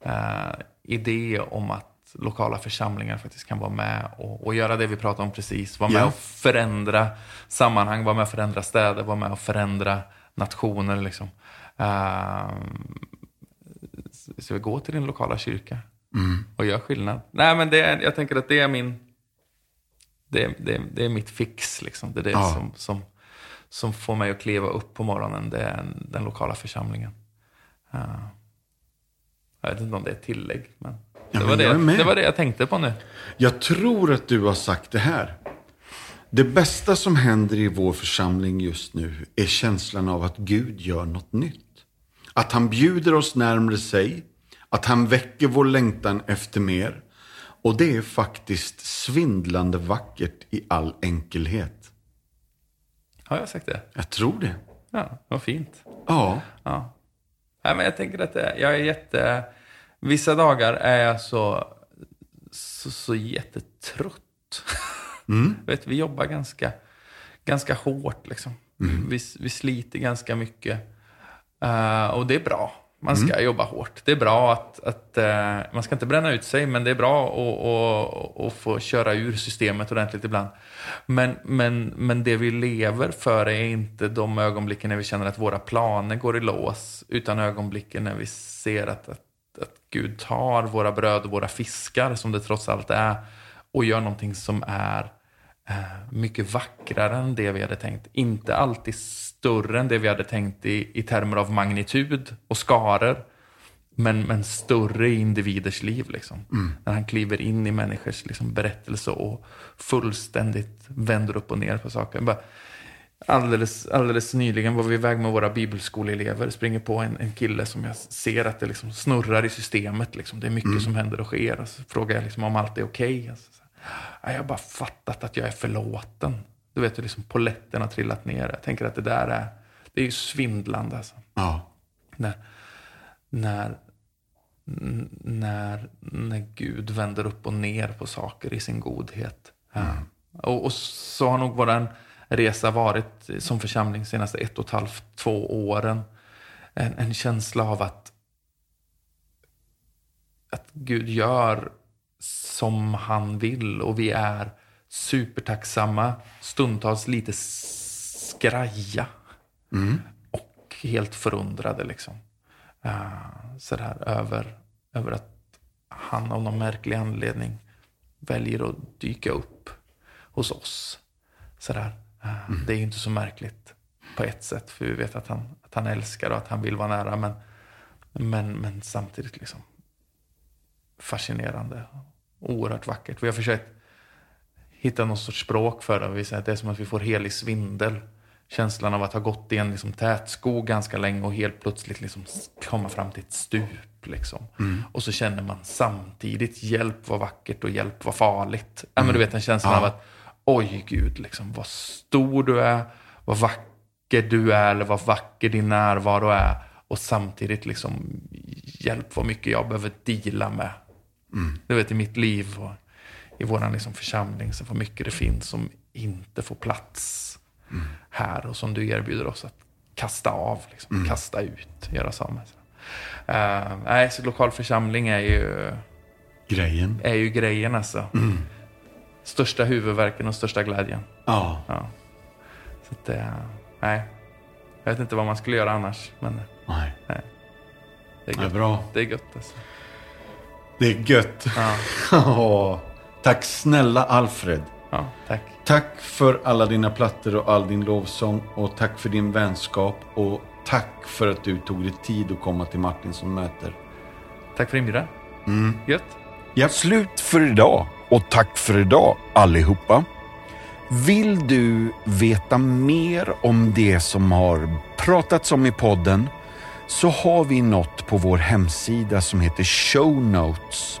eh, idé om att lokala församlingar faktiskt kan vara med och, och göra det vi pratade om precis. Vara med
Ja.
och förändra sammanhang, vara med och förändra städer, vara med och förändra nationer. Liksom. Eh, så vi går till din lokala kyrka
Mm.
och gör skillnad. Nej, men det är, jag tänker att det är min... Det, är- det, är- det är mitt fix. Liksom. Det är det
Ja.
som, som, som får mig att kliva upp på morgonen. Det är den lokala församlingen. Ja. jag vet inte om det är ett tillägg, men, det,
men
var det,
jag är med.
det var det jag tänkte på nu.
Jag tror att du har sagt det här. Det bästa som händer i vår församling just nu är känslan av att Gud gör något nytt. Att han bjuder oss närmre sig. Att han väcker vår längtan efter mer. Och det är faktiskt svindlande vackert i all enkelhet.
Har jag sagt det?
Jag tror det.
Ja, vad fint.
Ja.
Ja. Nej, men jag tänker att det, jag är jätte... Vissa dagar är jag så, så, så jättetrött. Vet, vi jobbar ganska, ganska hårt. Liksom. Vi, vi sliter ganska mycket. Eh, och det är bra. Man ska jobba hårt. Det är bra att, att eh, man ska inte bränna ut sig, men det är bra att, att, att få köra ur systemet ordentligt ibland. Men, men, men det vi lever för är inte de ögonblicken när vi känner att våra planer går i lås, utan ögonblicken när vi ser att, att, att Gud tar våra bröd och våra fiskar, som det trots allt är, och gör någonting som är eh, mycket vackrare än det vi hade tänkt. Inte alltid större än det vi hade tänkt i, i termer av magnitud och skaror. Men, men större i individers liv. Liksom. När han kliver in i människors liksom, berättelse och fullständigt vänder upp och ner på saker. Bara, Alldeles, alldeles nyligen var vi iväg med våra bibelskoleelever. Springer på en, en kille som jag ser att det liksom snurrar i systemet. Liksom. Det är mycket som händer och sker. Och så frågar jag liksom om allt är okej. Alltså, så här, "Nej, jag har bara fattat att jag är förlåten. Du vet hur liksom poletten har trillat ner. Jag tänker att det där är, det är ju svindlande. Alltså.
Ja.
När, när, n- när, när Gud vänder upp och ner på saker i sin godhet. Ja. Och, och så har nog vår resa varit eh, som församling de senaste ett och ett halvt, två åren. En, en känsla av att, att Gud gör som han vill och vi är supertacksamma, stundtals lite skraja och helt förundrade liksom. Eh, sådär över, över att han av någon märklig anledning väljer att dyka upp hos oss. Sådär. Eh, Det är ju inte så märkligt på ett sätt, för vi vet att han, att han älskar och att han vill vara nära. Men, men, men samtidigt liksom fascinerande. Oerhört vackert. Vi har försökt hitta någon sorts språk för det. Vi säger att det är som att vi får helig svindel. Känslan av att ha gått i en liksom tät skog ganska länge och helt plötsligt liksom s- komma fram till ett stup. Liksom. Och så känner man samtidigt hjälp vad vackert och hjälp vad farligt. Ja, men du vet den känslan av att oj gud, liksom, vad stor du är, vad vacker du är eller vad vacker din närvaro är. Och samtidigt liksom hjälp vad mycket jag behöver deala med. Du vet i mitt liv och i vår liksom församling, så får mycket det finns som inte får plats
Mm.
här och som du erbjuder oss att kasta av, liksom,
Mm.
kasta ut, göra sig av med. Eh, nej, så lokal församling är ju,
Grejen.
är ju grejen alltså.
Mm.
Största huvudvärken och största glädjen.
Ja.
Ja. Så att, eh, nej. Jag vet inte vad man skulle göra annars, men
Nej.
det är
Ja,
gött.
bra.
Det är gött alltså.
Det är gött.
Ja,
Ja. Tack snälla Alfred.
ja, tack.
Tack för alla dina plattor och all din lovsång och tack för din vänskap och tack för att du tog dig tid att komma till Martin som möter.
Tack för inbjudan.
Mm.
Gött.
Japp.
Slut för idag och tack för idag allihopa. Vill du veta mer om det som har pratats om i podden så har vi något på vår hemsida som heter Show Notes.